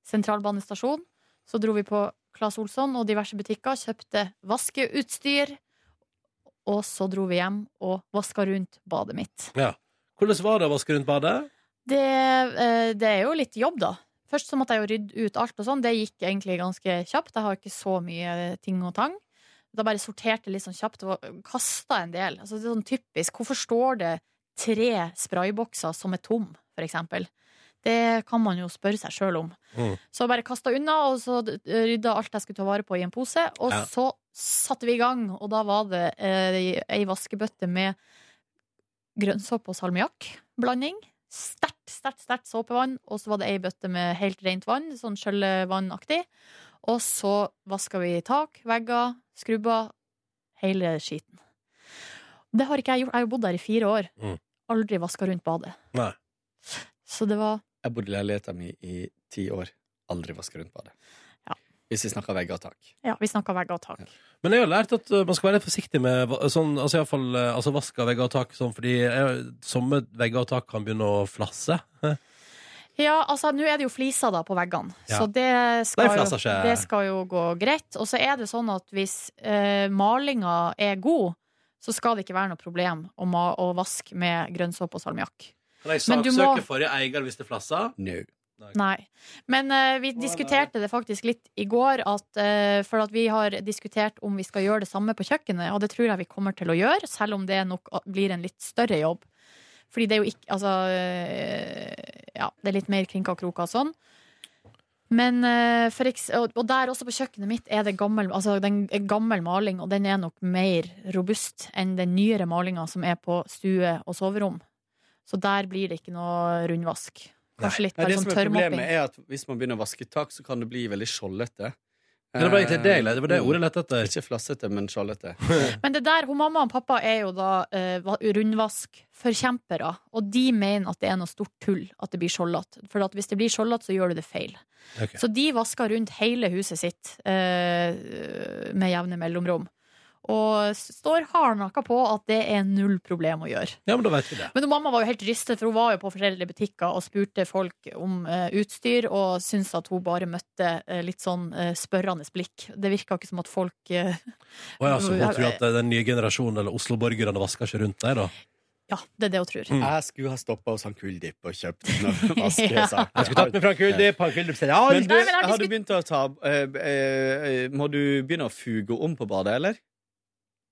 C: sentralbanestasjon. Så dro vi på Claes Olsson og diverse butikker, kjøpte vaskeutstyr. Og så dro vi hjem og vaska rundt badet mitt.
B: Ja. Hvordan var det å vaske rundt badet?
C: Det, eh, det er jo litt jobb, da. Først så måtte jeg jo rydde ut alt og sånn. Det gikk egentlig ganske kjapt. Jeg har ikke så mye ting og tang. Da bare sorterte jeg litt sånn kjapt og kasta en del. Altså, det er sånn typisk. Hvorfor står det tre spraybokser som er tom, for eksempel? Det kan man jo spørre seg sjøl om. Så bare kasta unna, og så eh, rydda alt jeg skulle ta vare på i en pose. Og
E: Ja.
C: så satte vi i gang, og da var det eh, ei vaskebøtte med grønnsåpe og salmiakkblanding. Sterkt, sterkt, sterkt såpevann, og så var det ei bøtte med helt rent vann, sånn skjøllevannaktig. Og så vaska vi tak, vegger, skrubber, hele skiten. Det har ikke jeg gjort. Jeg har jo bodd der i fire år.
B: Mm.
C: Aldri vaska rundt badet.
B: Nei.
C: Så det var
F: Jeg bodde i leiligheten min i ti år. Aldri vaska rundt badet. Hvis vi snakker vegger og tak.
C: Ja, vi snakka vegger og tak.
B: Men jeg har lært at uh, man skal være litt forsiktig med va- sånn, altså i hvert fall, uh, altså vask av vegger og tak, sånn, fordi jeg, somme vegger og tak kan begynne å flasse.
C: Ja, altså nå er det jo fliser da på veggene,
B: Ja.
C: så det skal,
B: Nei, fliser
C: jo,
B: ikke.
C: det skal jo gå greit. Og så er det sånn at hvis eh, malinga er god, så skal det ikke være noe problem å, ma å vaske med grønnsåpe og salmiakk.
B: Kan jeg
C: Men du
B: saksøke
C: må-
B: forrige eier hvis det flasser?
F: No.
C: Nei. Men eh, vi diskuterte det faktisk litt i går, at, eh, for at vi har diskutert om vi skal gjøre det samme på kjøkkenet, og det tror jeg vi kommer til å gjøre, selv om det nok blir en litt større jobb. Fordi det er jo ikke Altså, eh, ja, det er litt mer krinka og kroka og sånn. Men eh, for eks og, og der også på kjøkkenet mitt er det gammel, altså den er gammel maling, og den er nok mer robust enn den nyere malinga som er på stue og soverom. Så der blir det ikke noe rundvask. Kanskje litt
F: Nei,
C: bare
F: det
C: sånn
F: som er problemet,
C: tørrmopping.
F: er at hvis man begynner å vaske tak, så kan det bli veldig skjoldete.
B: Ja, det var egentlig det jeg lette- det var det
F: Eh,
B: ordet jeg lette etter.
F: Ikke flassete, men skjoldete.
C: Men det der, hun mamma og pappa er jo da eh, va- rundvaskforkjempere, og de mener at det er noe stort tull at det blir skjoldete. For at hvis det blir skjoldete, så gjør du det feil. Så de vasker rundt hele huset sitt eh, med jevne mellomrom. Og s- står hardnakka på at det er null problem å gjøre.
B: Ja, men da vet vi det.
C: Men hun mamma var jo helt rystet, for hun var jo på forskjellige butikker og spurte folk om eh, utstyr, og syntes at hun bare møtte eh, litt sånn eh, spørrende blikk. Det virka ikke som at folk eh,
B: Å ja, så hun tror at eh, den nye generasjonen eller Oslo-borgerne vasker ikke rundt deg, da?
C: Ja, det er det hun tror.
F: Jeg skulle ha stoppa hos han Kuldipp og kjøpt noen vaskesaker.
B: Jeg skulle tatt med fra Kuldipp, han Kuldipp sier ja.
F: Men du,
B: Nei, men har du
F: har du begynt å ta eh, eh, Må du begynne å fuge om på badet, eller?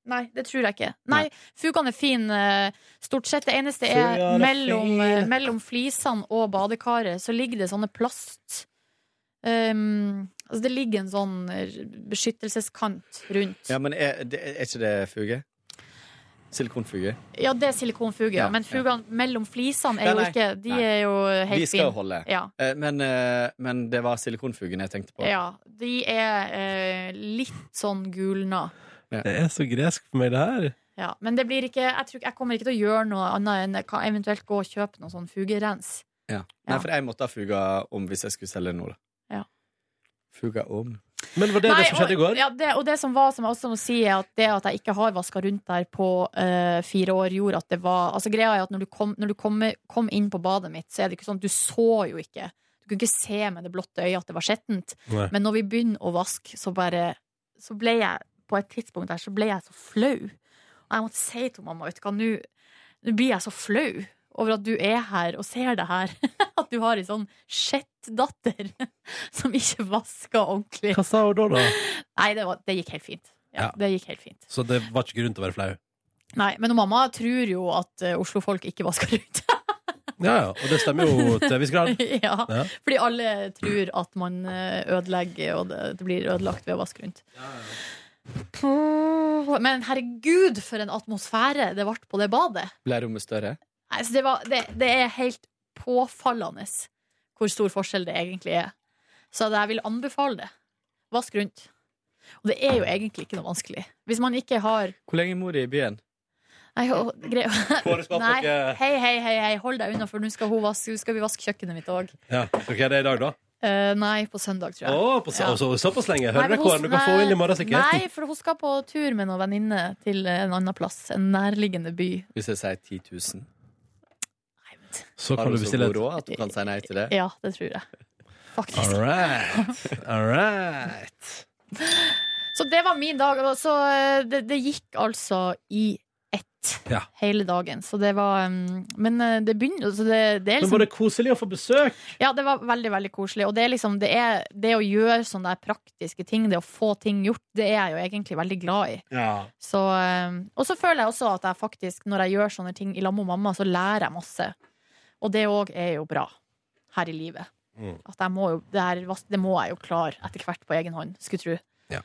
C: Nei, det tror jeg ikke. Nei, Fugene er fin eh, stort sett. Det eneste er
F: Fugene er
C: mellom,
F: fin.
C: eh, mellom flisene og badekaret så ligger det sånne plast ehm, Altså det ligger en sånn eh, beskyttelseskant rundt.
F: Ja, men er, det- er ikke det fuge? Silikonfuge?
C: Ja, det er silikonfuge, ja.
F: Ja,
C: Men fugene mellom flisene er
F: Nei,
C: jo
F: nei.
C: ikke De
F: Nei.
C: er jo helt fine.
F: De skal jo holde.
C: Ja.
F: Eh, Men, eh, men det var silikonfugen jeg tenkte på.
C: ja. De er eh, litt sånn gulna.
B: Det er så gresk for meg, det her.
C: Ja, men det blir ikke, jeg, tror, ikke- jeg kommer ikke til å gjøre noe annet enn jeg kan eventuelt gå og kjøpe noe sånn fugerens.
F: Ja. Nei, for jeg måtte ha fuga om hvis jeg skulle selge nå, da.
C: Ja.
F: Fuga om.
B: Men var
C: Nei, Og, ja, det, og det som var, som jeg også må si, er at det at jeg ikke har vaska rundt der på eh, fire år, gjorde at det var Altså Greia er at når du, kom, når du kom, kom inn på badet mitt, så er det ikke sånn Du så jo ikke. Du kunne ikke se med det blotte øyet at det var skjettent.
B: Nei.
C: Men når vi begynner å vaske, så bare Så ble jeg På et tidspunkt der så ble jeg så flau. Og jeg måtte si til mamma, vet du hva, nå nå blir jeg så flau. Over at du er her og ser det her. At du har ei sånn skjettdatter som ikke vasker ordentlig.
B: Hva sa hun da, da?
C: Nei, det, var, det gikk helt fint.
B: Ja.
C: Ja, Det gikk helt fint.
B: Så det var ikke grunn til å være flau?
C: Nei, Men mamma tror jo at eh, Oslo-folk ikke vasker rundt.
B: Ja, ja. Og det stemmer jo til en viss grad.
C: ja,
B: Ja.
C: Fordi alle tror at man eh, ødelegger, og det, det blir ødelagt ved å vaske rundt. Puh, Men herregud, for en atmosfære det ble på det badet!
F: Ble rommet større?
C: Nei, så det, var, det, det er helt påfallende hvor stor forskjell det egentlig er. Så det, jeg vil anbefale det. Vask rundt. Og det er jo egentlig ikke noe vanskelig. Hvis man ikke har
F: Hvor lenge bor du i byen?
C: Nei, og- grei-
B: Forespørt
C: Nei,
B: dere-
C: hei, hei, hei, hei, hold deg unna, for nå skal, hun vaske, nå skal vi vaske kjøkkenet mitt òg.
B: Ja. Så hva er det i dag, da?
C: nei, på søndag, tror jeg.
B: Å, på så,
C: Ja.
B: så, såpass lenge.
C: Nei, men hun-
B: Hørerekorden du kan få inn i morgen, sikkert.
C: Nei, for hun skal på tur med noen venninne til en annen plass. En nærliggende by.
F: Hvis jeg sier 10 000?
B: Så
F: Har
B: kan
F: du så
B: du bestille
F: god
B: et
F: råd at du kan si nei til det?
C: Ja, det tror jeg. Faktisk.
B: All right. All right.
C: Så det var min dag. og Så eh, det, det gikk altså i ett
B: Ja.
C: hele dagen. Så det var um, Men eh, det begynner så det, det
B: Men
C: er liksom
B: var det koselig å få besøk?
C: Ja, det var veldig, veldig koselig. Og det, er liksom, det, er, det å gjøre sånne der praktiske ting, det å få ting gjort, det er jeg jo egentlig veldig glad i.
B: Ja.
C: Så, eh, og så føler jeg også at jeg faktisk, når jeg gjør sånne ting i lag med mamma, så lærer jeg masse. Og det òg er jo bra her i livet.
B: Mm.
C: At jeg må jo, det, her, vas- det må jeg jo klare etter hvert på egen hånd, skulle tro.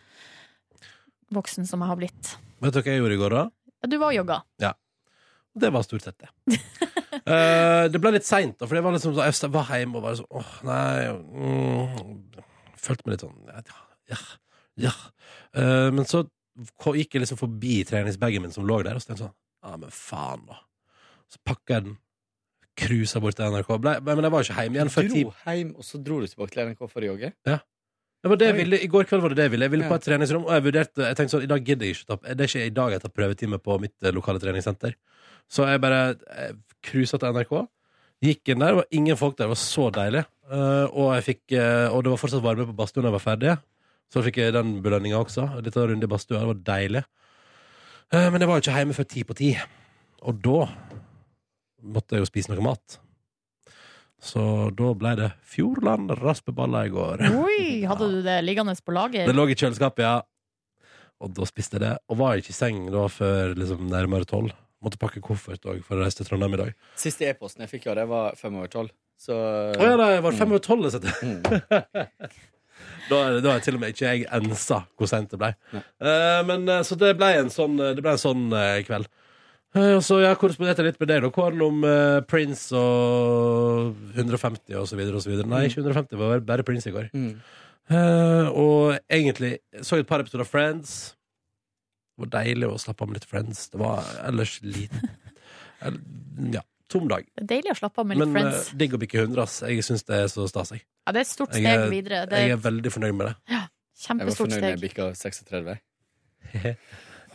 C: voksen som jeg har blitt.
B: Vet dere hva jeg gjorde i går, da?
C: Ja, Du var og jogga.
B: Ja. Og det var stort sett det. Eh, det ble litt seint, da, for det var liksom så, jeg var hjemme og var sånn åh, nei mm, Følte meg litt sånn ja, ja, ja. Eh, Men så ko- gikk jeg liksom forbi treningsbagen min som lå der, og så tenkte jeg sånn Ja, men faen, da. Så pakka jeg den, cruisa bort til NRK. Ble, men jeg var jo ikke hjemme igjen før ti
J: Dro hjem, og så dro du tilbake til NRK for å jogge?
B: Ja. Det var det jeg ville, I går kveld var det det jeg ville. Jeg ville
J: Ja.
B: på et treningsrom, og jeg vurderte Jeg tenkte sånn, i dag gidder jeg ikke ta Det er ikke i dag jeg tar prøvetime på mitt eh, lokale treningssenter. Så jeg bare eh, cruisa til NRK. Gikk inn der, det var ingen folk der, det var så deilig. Eh, og, jeg fikk, eh, og det var fortsatt varme på badstua da jeg var ferdig. Så fikk jeg den belønninga også. En liten runde i badstua, det var deilig. Eh, men jeg var jo ikke hjemme før ti på ti. Og da måtte jeg jo spise noe mat. Så da ble det Fjordland raspeballer i går.
C: Oi, hadde du det liggende på lager?
B: Det lå i kjøleskapet, ja. Og da spiste jeg det. Og var ikke i seng da før liksom, nærmere tolv. Måtte pakke koffert òg for å reise til Trondheim i dag.
J: Siste e-posten jeg fikk av deg, var fem over tolv. Så eh,
B: Å ja, det var fem over tolv jeg satte. Da er det- da er til og med ikke jeg ensa hvor seint det ble. Eh, men, eh, så det ble en sånn, eh, det ble en sånn eh, kveld. Eh, og så jeg har korrespondert litt med deg, da. Kåren om eh, Prince og 150 og så videre og så videre. Nei, ikke 150, det var bare Prince i går.
J: mm.
B: Eh, og egentlig så jeg et par episoder av Friends. Det var deilig å slappe av med litt Friends. Det var ellers liten el- Ja, tom dag.
C: Det er Deilig å slappe av med litt
B: Men eh,
C: friends.
B: digg å bikke 100, ass. Jeg syns det er så stas, jeg.
C: Ja, det er et stort
B: Jeg
C: steg
B: er-
C: videre. Det
B: Jeg
C: er
B: er veldig fornøyd med det.
C: et kjempestort steg.
J: bikka 36.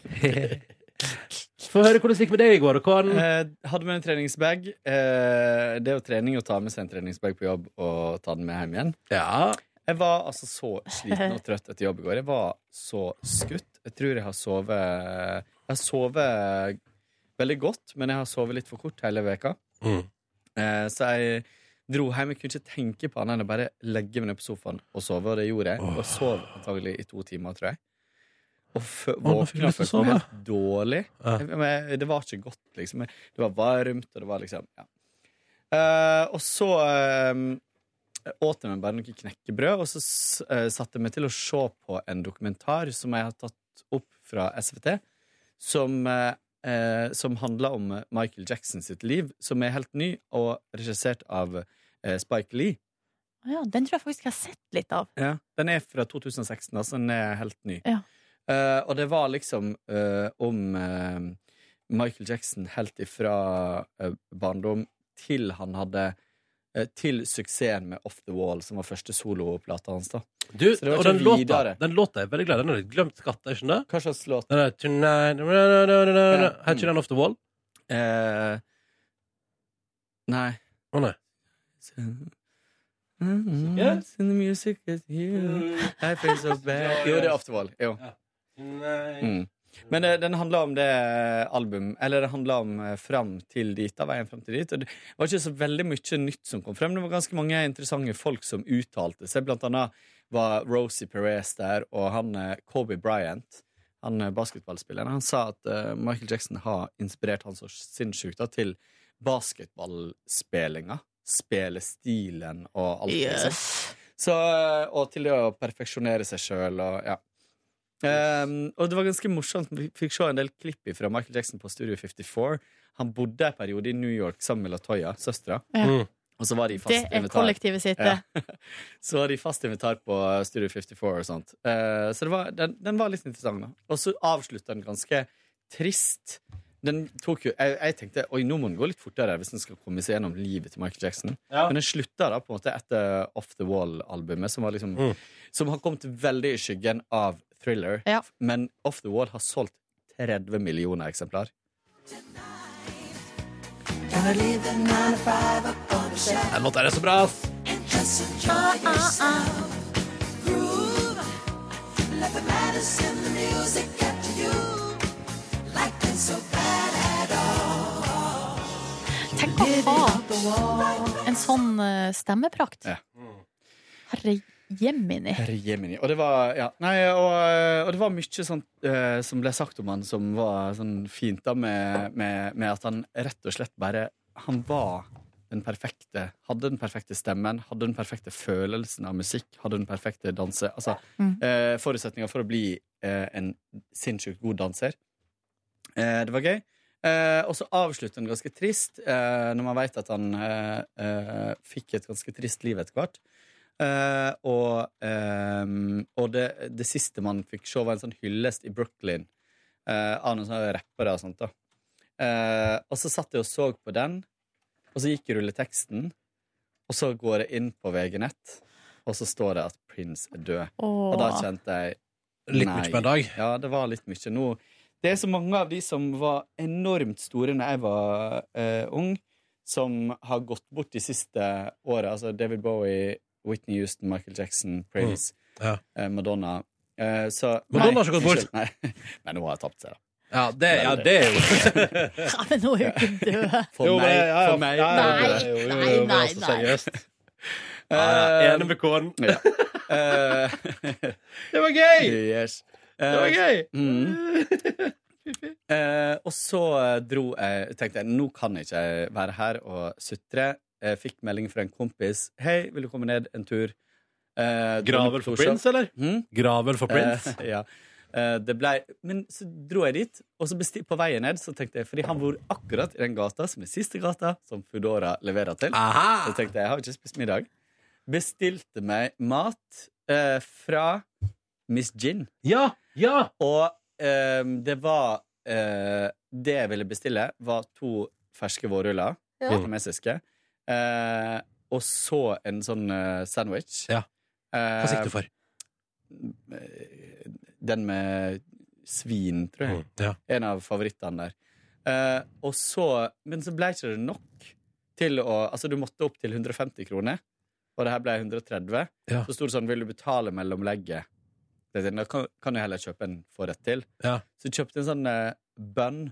B: Få høre hvordan det gikk med deg i går. og Kåren.
J: Eh, hadde med en treningsbag. Eh, det er jo trening å ta med seg en treningsbag på jobb og ta den med hjem igjen. Jeg var altså så sliten og trøtt etter jobb i går. Jeg var så skutt. Jeg tror jeg har sovet Jeg har sovet veldig godt, men jeg har sovet litt for kort hele veka.
B: Mm.
J: Eh, så jeg dro hjem. Jeg kunne ikke tenke på annet enn å bare legge meg ned på sofaen og sove, og det gjorde jeg. Og sov antagelig i to timer, tror jeg. Og fø-
B: nå fikk jeg
J: våkna og
B: lyst til å
J: følte meg
B: sove.
J: helt dårlig.
B: Ja.
J: Jeg, men jeg- det var ikke godt, liksom. Jeg- Det var varmt, og det var liksom ja. Eh, og så eh, åt jeg meg bare noe knekkebrød, og så s- eh, satte jeg meg til å se på en dokumentar som jeg har tatt opp fra SVT, som, eh, eh, som handler om eh, Michael Jackson sitt liv, som er helt ny og regissert av eh, Spike Lee.
C: Ja, den tror jeg faktisk jeg har sett litt av.
J: Ja, den er fra 2016, altså den er helt ny.
C: Ja.
J: Eh, og det var liksom eh, om eh, Michael Jackson helt ifra eh, barndom til han hadde eh, Til suksessen med Off The Wall, som var første soloplata hans. da
B: Du,
J: Så det
B: og
J: var ikke
B: den låta,
J: videre.
B: den låta er veldig glad. Den har jeg glemt skatt, er ikke det?
J: Hva slags låt?
B: Den der, Tonight Heter ikke den Off The Wall?
J: Eh, nei.
B: Å nei.
J: Mm, in the music is you. I feel so bad. Jo, det er Off The Wall. Jo. Mm. Men eh, den handla om det eh, album Eller det handla om eh, fram til dit, da, veien fram til dit. Og det var ikke så veldig mye nytt som kom frem. Det var ganske mange interessante folk som uttalte seg. Blant annet var Rosie Perez der, og han eh, Kobe Bryant, han eh, basketballspilleren, han sa at eh, Michael Jackson har inspirert han så sinnssykt da, til basketballspillinga. Spillestilen og alt. liksom.
C: Yes.
J: Så, eh, og til det å perfeksjonere seg sjøl og ja. Ehm, og det var ganske morsomt. Vi fikk se en del klipp fra Michael Jackson på Studio 54. Han bodde en periode i New York sammen med Latoya, søstera.
C: Ja. Mm.
J: Og så var de i fast
C: Det er
J: invitar.
C: kollektivet sitt, det.
J: Ja. Så var de i fast invitar på Studio 54 og sånt. Eh, så det var, den, den var litt interessant, da. Og så avslutta den ganske trist. Den tok jo Jeg, jeg tenkte oi, nå må den gå litt fortere hvis den skal komme seg gjennom livet til Michael Jackson.
B: Ja.
J: Men den slutta da på en måte etter Off The Wall-albumet, som, var liksom,
B: Mm.
J: som har kommet veldig i skyggen av Thriller. Men Off The Wall har solgt 30 millioner eksemplar.
B: Den låta er så bra, ass!
C: Tenk å ha en sånn eh, stemmeprakt.
J: Ja.
C: Herre jemini.
J: Herre jemini. Og det var, ja, nei, og, og det var mye sånt eh, som ble sagt om han som var sånn fint da, med, med, med at han rett og slett bare Han var den perfekte, hadde den perfekte stemmen, hadde den perfekte følelsen av musikk, hadde den perfekte danse... Altså,
O: Mm.
J: eh, forutsetninger for å bli eh, en sinnssykt god danser. Eh, det var gøy. Eh, og så avslutter den ganske trist, eh, når man vet at han eh, eh, fikk et ganske trist liv etter hvert. Eh, og ehm, og det, det siste man fikk se, var en sånn hyllest i Brooklyn eh, av noen sånne rappere og sånt. da eh, Og så satt jeg og så på den, og så gikk jeg rulleteksten, og så går jeg inn på VG-nett, og så står det at Prince er død.
C: Åh.
J: Og da kjente jeg
B: Litt mye på en dag.
J: Ja, det var litt mye. Nå, det er så mange av de som var enormt store når jeg var eh, ung, som har gått bort de siste åra. Altså David Bowie, Whitney Houston, Michael Jackson, Prince,
B: Mm. Ja.
J: eh, Madonna. Eh, så,
B: Madonna
J: Nei,
B: har ikke gått bort.
J: unnskyld, Nei. nei, nå har jeg tapt seg, da.
B: Ja, det, ja, det er jo
C: Ja, men nå er jo ikke død.
J: For
B: Jo, men-
J: meg,
B: ja, ja.
J: for meg
B: Ja, ja,
J: det-
B: ja, jo, jo, jo, jo, men
C: nei,
B: altså,
C: nei.
B: Seriøst.
J: Eh,
B: Enig med Kåren.
J: Ja. Eh,
B: Det var gøy!
J: Yes.
B: Det var
J: Eh,
B: gøy!
J: Mm. Eh, og så eh, dro jeg tenkte jeg, nå kan ikke jeg være her og sutre. Jeg fikk melding fra en kompis. 'Hei, vil du komme ned en tur?' Eh,
B: Graver for Prince, eller?
J: Hm?
B: Graver for Prince.
J: Eh, ja. Eh, det ble, men så dro jeg dit, og så besti- på veien ned så tenkte jeg, fordi han bor akkurat i den gata som er siste gata som Foodora leverer
B: Ah.
J: til.
B: Eh, Aha!
J: Så tenkte jeg jeg har ikke spist middag. Bestilte meg mat eh, fra Miss Gin.
B: Ja, ja!
J: Og eh, det var eh, Det jeg ville bestille, var to ferske vårruller,
B: Ja.
J: vietnamesiske, eh, og så en sånn eh, sandwich. Eh,
B: Ja. Hva sikter du for?
J: Den med svin, tror jeg.
B: Mm, ja.
J: En av favorittene der. Eh, og så, men så ble ikke det nok til å Altså, du måtte opp til 150 kroner, og det her ble 130.
B: Ja.
J: Så sto det sånn Vil du betale mellomlegget? Det er sånn, Da kan, kan du heller kjøpe en forrett til.
B: Ja.
J: Så jeg kjøpte en sånn eh, bønn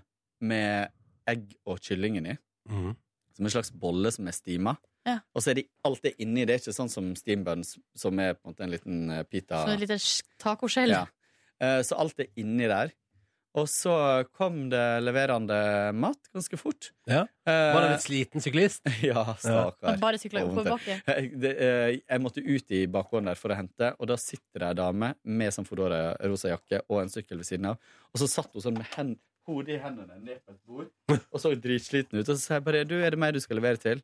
J: med egg og kyllingen i.
B: Mhm.
J: Som en slags bolle som er stima.
C: Ja.
J: Og så er det alt det inni. Det er ikke sånn som steambønn, s- som er på en måte en liten eh, pita.
C: Så en liten Sånn sk- tacoskjell.
J: Ja. Eh, Så alt er inni der. Og så kom det leverende mat ganske fort.
B: Ja.
J: Eh,
B: Var det en litt sliten syklist?
J: ja, stakkar.
C: Han bare syklet
J: Og vondt.
C: oppoverbakke.
J: Jeg- det, eh, Jeg måtte ut i bakgården der for å hente, og da sitter det ei dame med sånn Foodora rosa jakke og en sykkel ved siden av, og så satt hun sånn med hen, hodet i hendene ned på et bord og så dritsliten ut, og så sa jeg bare Du, er det meg du skal levere til?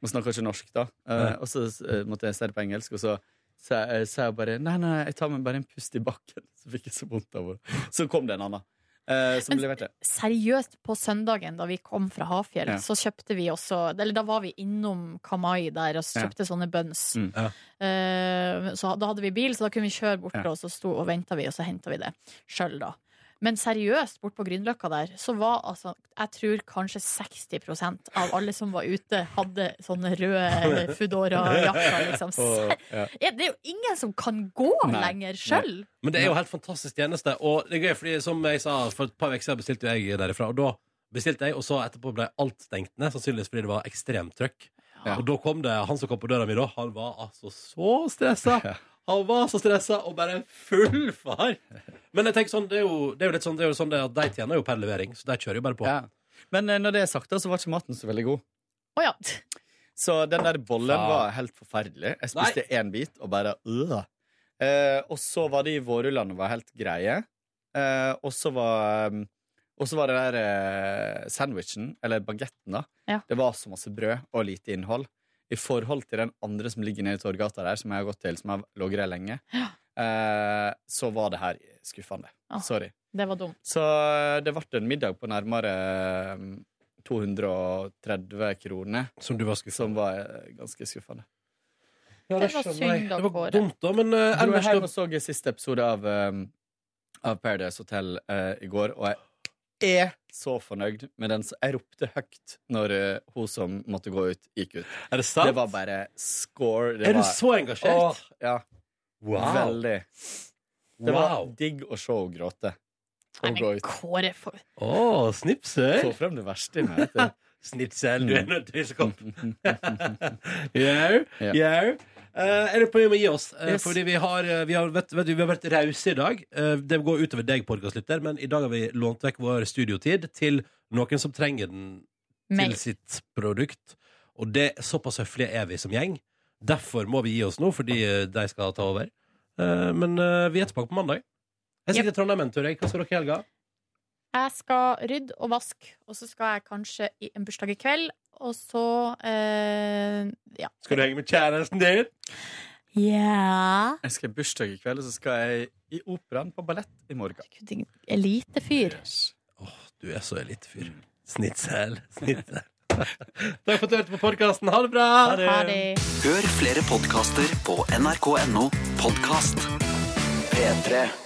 J: Hun snakker ikke norsk, da. Eh,
B: Nei.
J: Og så eh, måtte jeg si det på engelsk, og så sa jeg- sa jeg bare Nei, nei, jeg tar meg bare en pust i bakken. Så fikk jeg så vondt av henne. Så kom det en annen eh, som leverte.
C: Seriøst, på søndagen da vi kom fra Hafjell,
J: Ja.
C: så kjøpte vi også Eller da var vi innom Kamai der og
J: Ja.
C: kjøpte sånne buns.
J: Mm.
C: Eh, Så da hadde vi bil, så da kunne vi kjøre bort
J: Ja.
C: og så sto og venta vi, og så henta vi det sjøl, da. Men seriøst, bort på Grünerløkka der, så var altså Jeg tror kanskje 60 av alle som var ute, hadde sånne røde Foodora-jakker, liksom.
B: Åh, ja.
C: Ja, det er jo ingen som kan gå
B: Nei.
C: lenger sjøl!
B: Men det er jo helt fantastisk tjeneste. Og det er gøy, fordi som jeg sa, for et par uker siden bestilte jeg derifra. Og da bestilte jeg, og så etterpå ble alt stengt ned, sannsynligvis fordi det var ekstremt trøkk. Og da kom det han som kom på døra mi da, han var altså så stressa. Han var så stressa og bare full far. Men jeg tenker sånn, det er jo, det er jo litt sånn, det er jo sånn det at de tjener jo per levering, så de kjører jo bare på.
J: Ja. Men eh, når det er sagt, da, så var ikke maten så veldig god.
C: Å ja.
J: Så den der bollen
B: Faen.
J: var helt forferdelig. Jeg spiste én bit og bare øh. eh, Og så var de vårrullene var helt greie. Eh, og så var um, Og så var det der eh, sandwichen, eller bagetten, da.
C: Ja.
J: Det var så masse brød og lite innhold. I forhold til den andre som ligger nede i Torgata der, som jeg har gått til, som har ligget der lenge, eh, så var det her skuffende.
C: Ah.
J: Sorry.
C: Det var dumt.
J: Så eh, det ble en middag på nærmere mm, 230 kroner.
B: Som du var skuffende?
J: Som var eh, ganske skuffende.
B: Ja,
C: det Det var skjønner jeg. synd da,
B: Det var
C: Kåre.
B: dumt, da, men eh,
J: Jeg var
B: ellers
J: hjemme og så siste episode av, eh, av Paradise Hotel eh, i går, og jeg er så fornøyd med den. som- Jeg ropte høyt når eh, hun som måtte gå ut, gikk ut.
B: Er det sant?
J: Det var bare score.
B: Er du
J: var,
B: så engasjert?
J: Åh, ja.
B: Wow.
J: Veldig. Det var
B: Wow.
J: digg å se henne gråte.
C: Nei,
J: Og gå
C: men
J: ut.
C: Kåre, for
B: Å, snipser!
J: Få frem det verste i meg. vet du.
B: Snitsel, du er nødt til å komme. Jau, jau. Eh, Er det på å gi oss? Eh,
J: Yes.
B: Fordi vi har, eh, vi har, vet, vet, du, vi har vært rause i dag. Eh, Det går utover deg, podkastlytter, men i dag har vi lånt vekk vår studiotid til noen som trenger den
C: Meg.
B: til sitt produkt. Og det såpass høflige er vi som gjeng. Derfor må vi gi oss nå, fordi eh, de skal ta over. Eh, Men eh, vi er tilbake på mandag. Jeg sitter i Trondheim en tur. jeg. Hva skal dere i helga?
C: Jeg skal rydde og vaske, og så skal jeg kanskje i en bursdag i kveld, og så eh, Ja.
B: Skal du henge med kjæresten din?
C: Yeah.
J: Jeg skal i bursdag i kveld, og så skal jeg i operaen på ballett i morgen.
C: Elitefyr.
B: Du er så elitefyr. Snitsel. Snitsel. Takk for at du hørte på podkasten. Ha det bra!
C: Ha det.
G: Hør flere podkaster på nrk.no podkast. P3.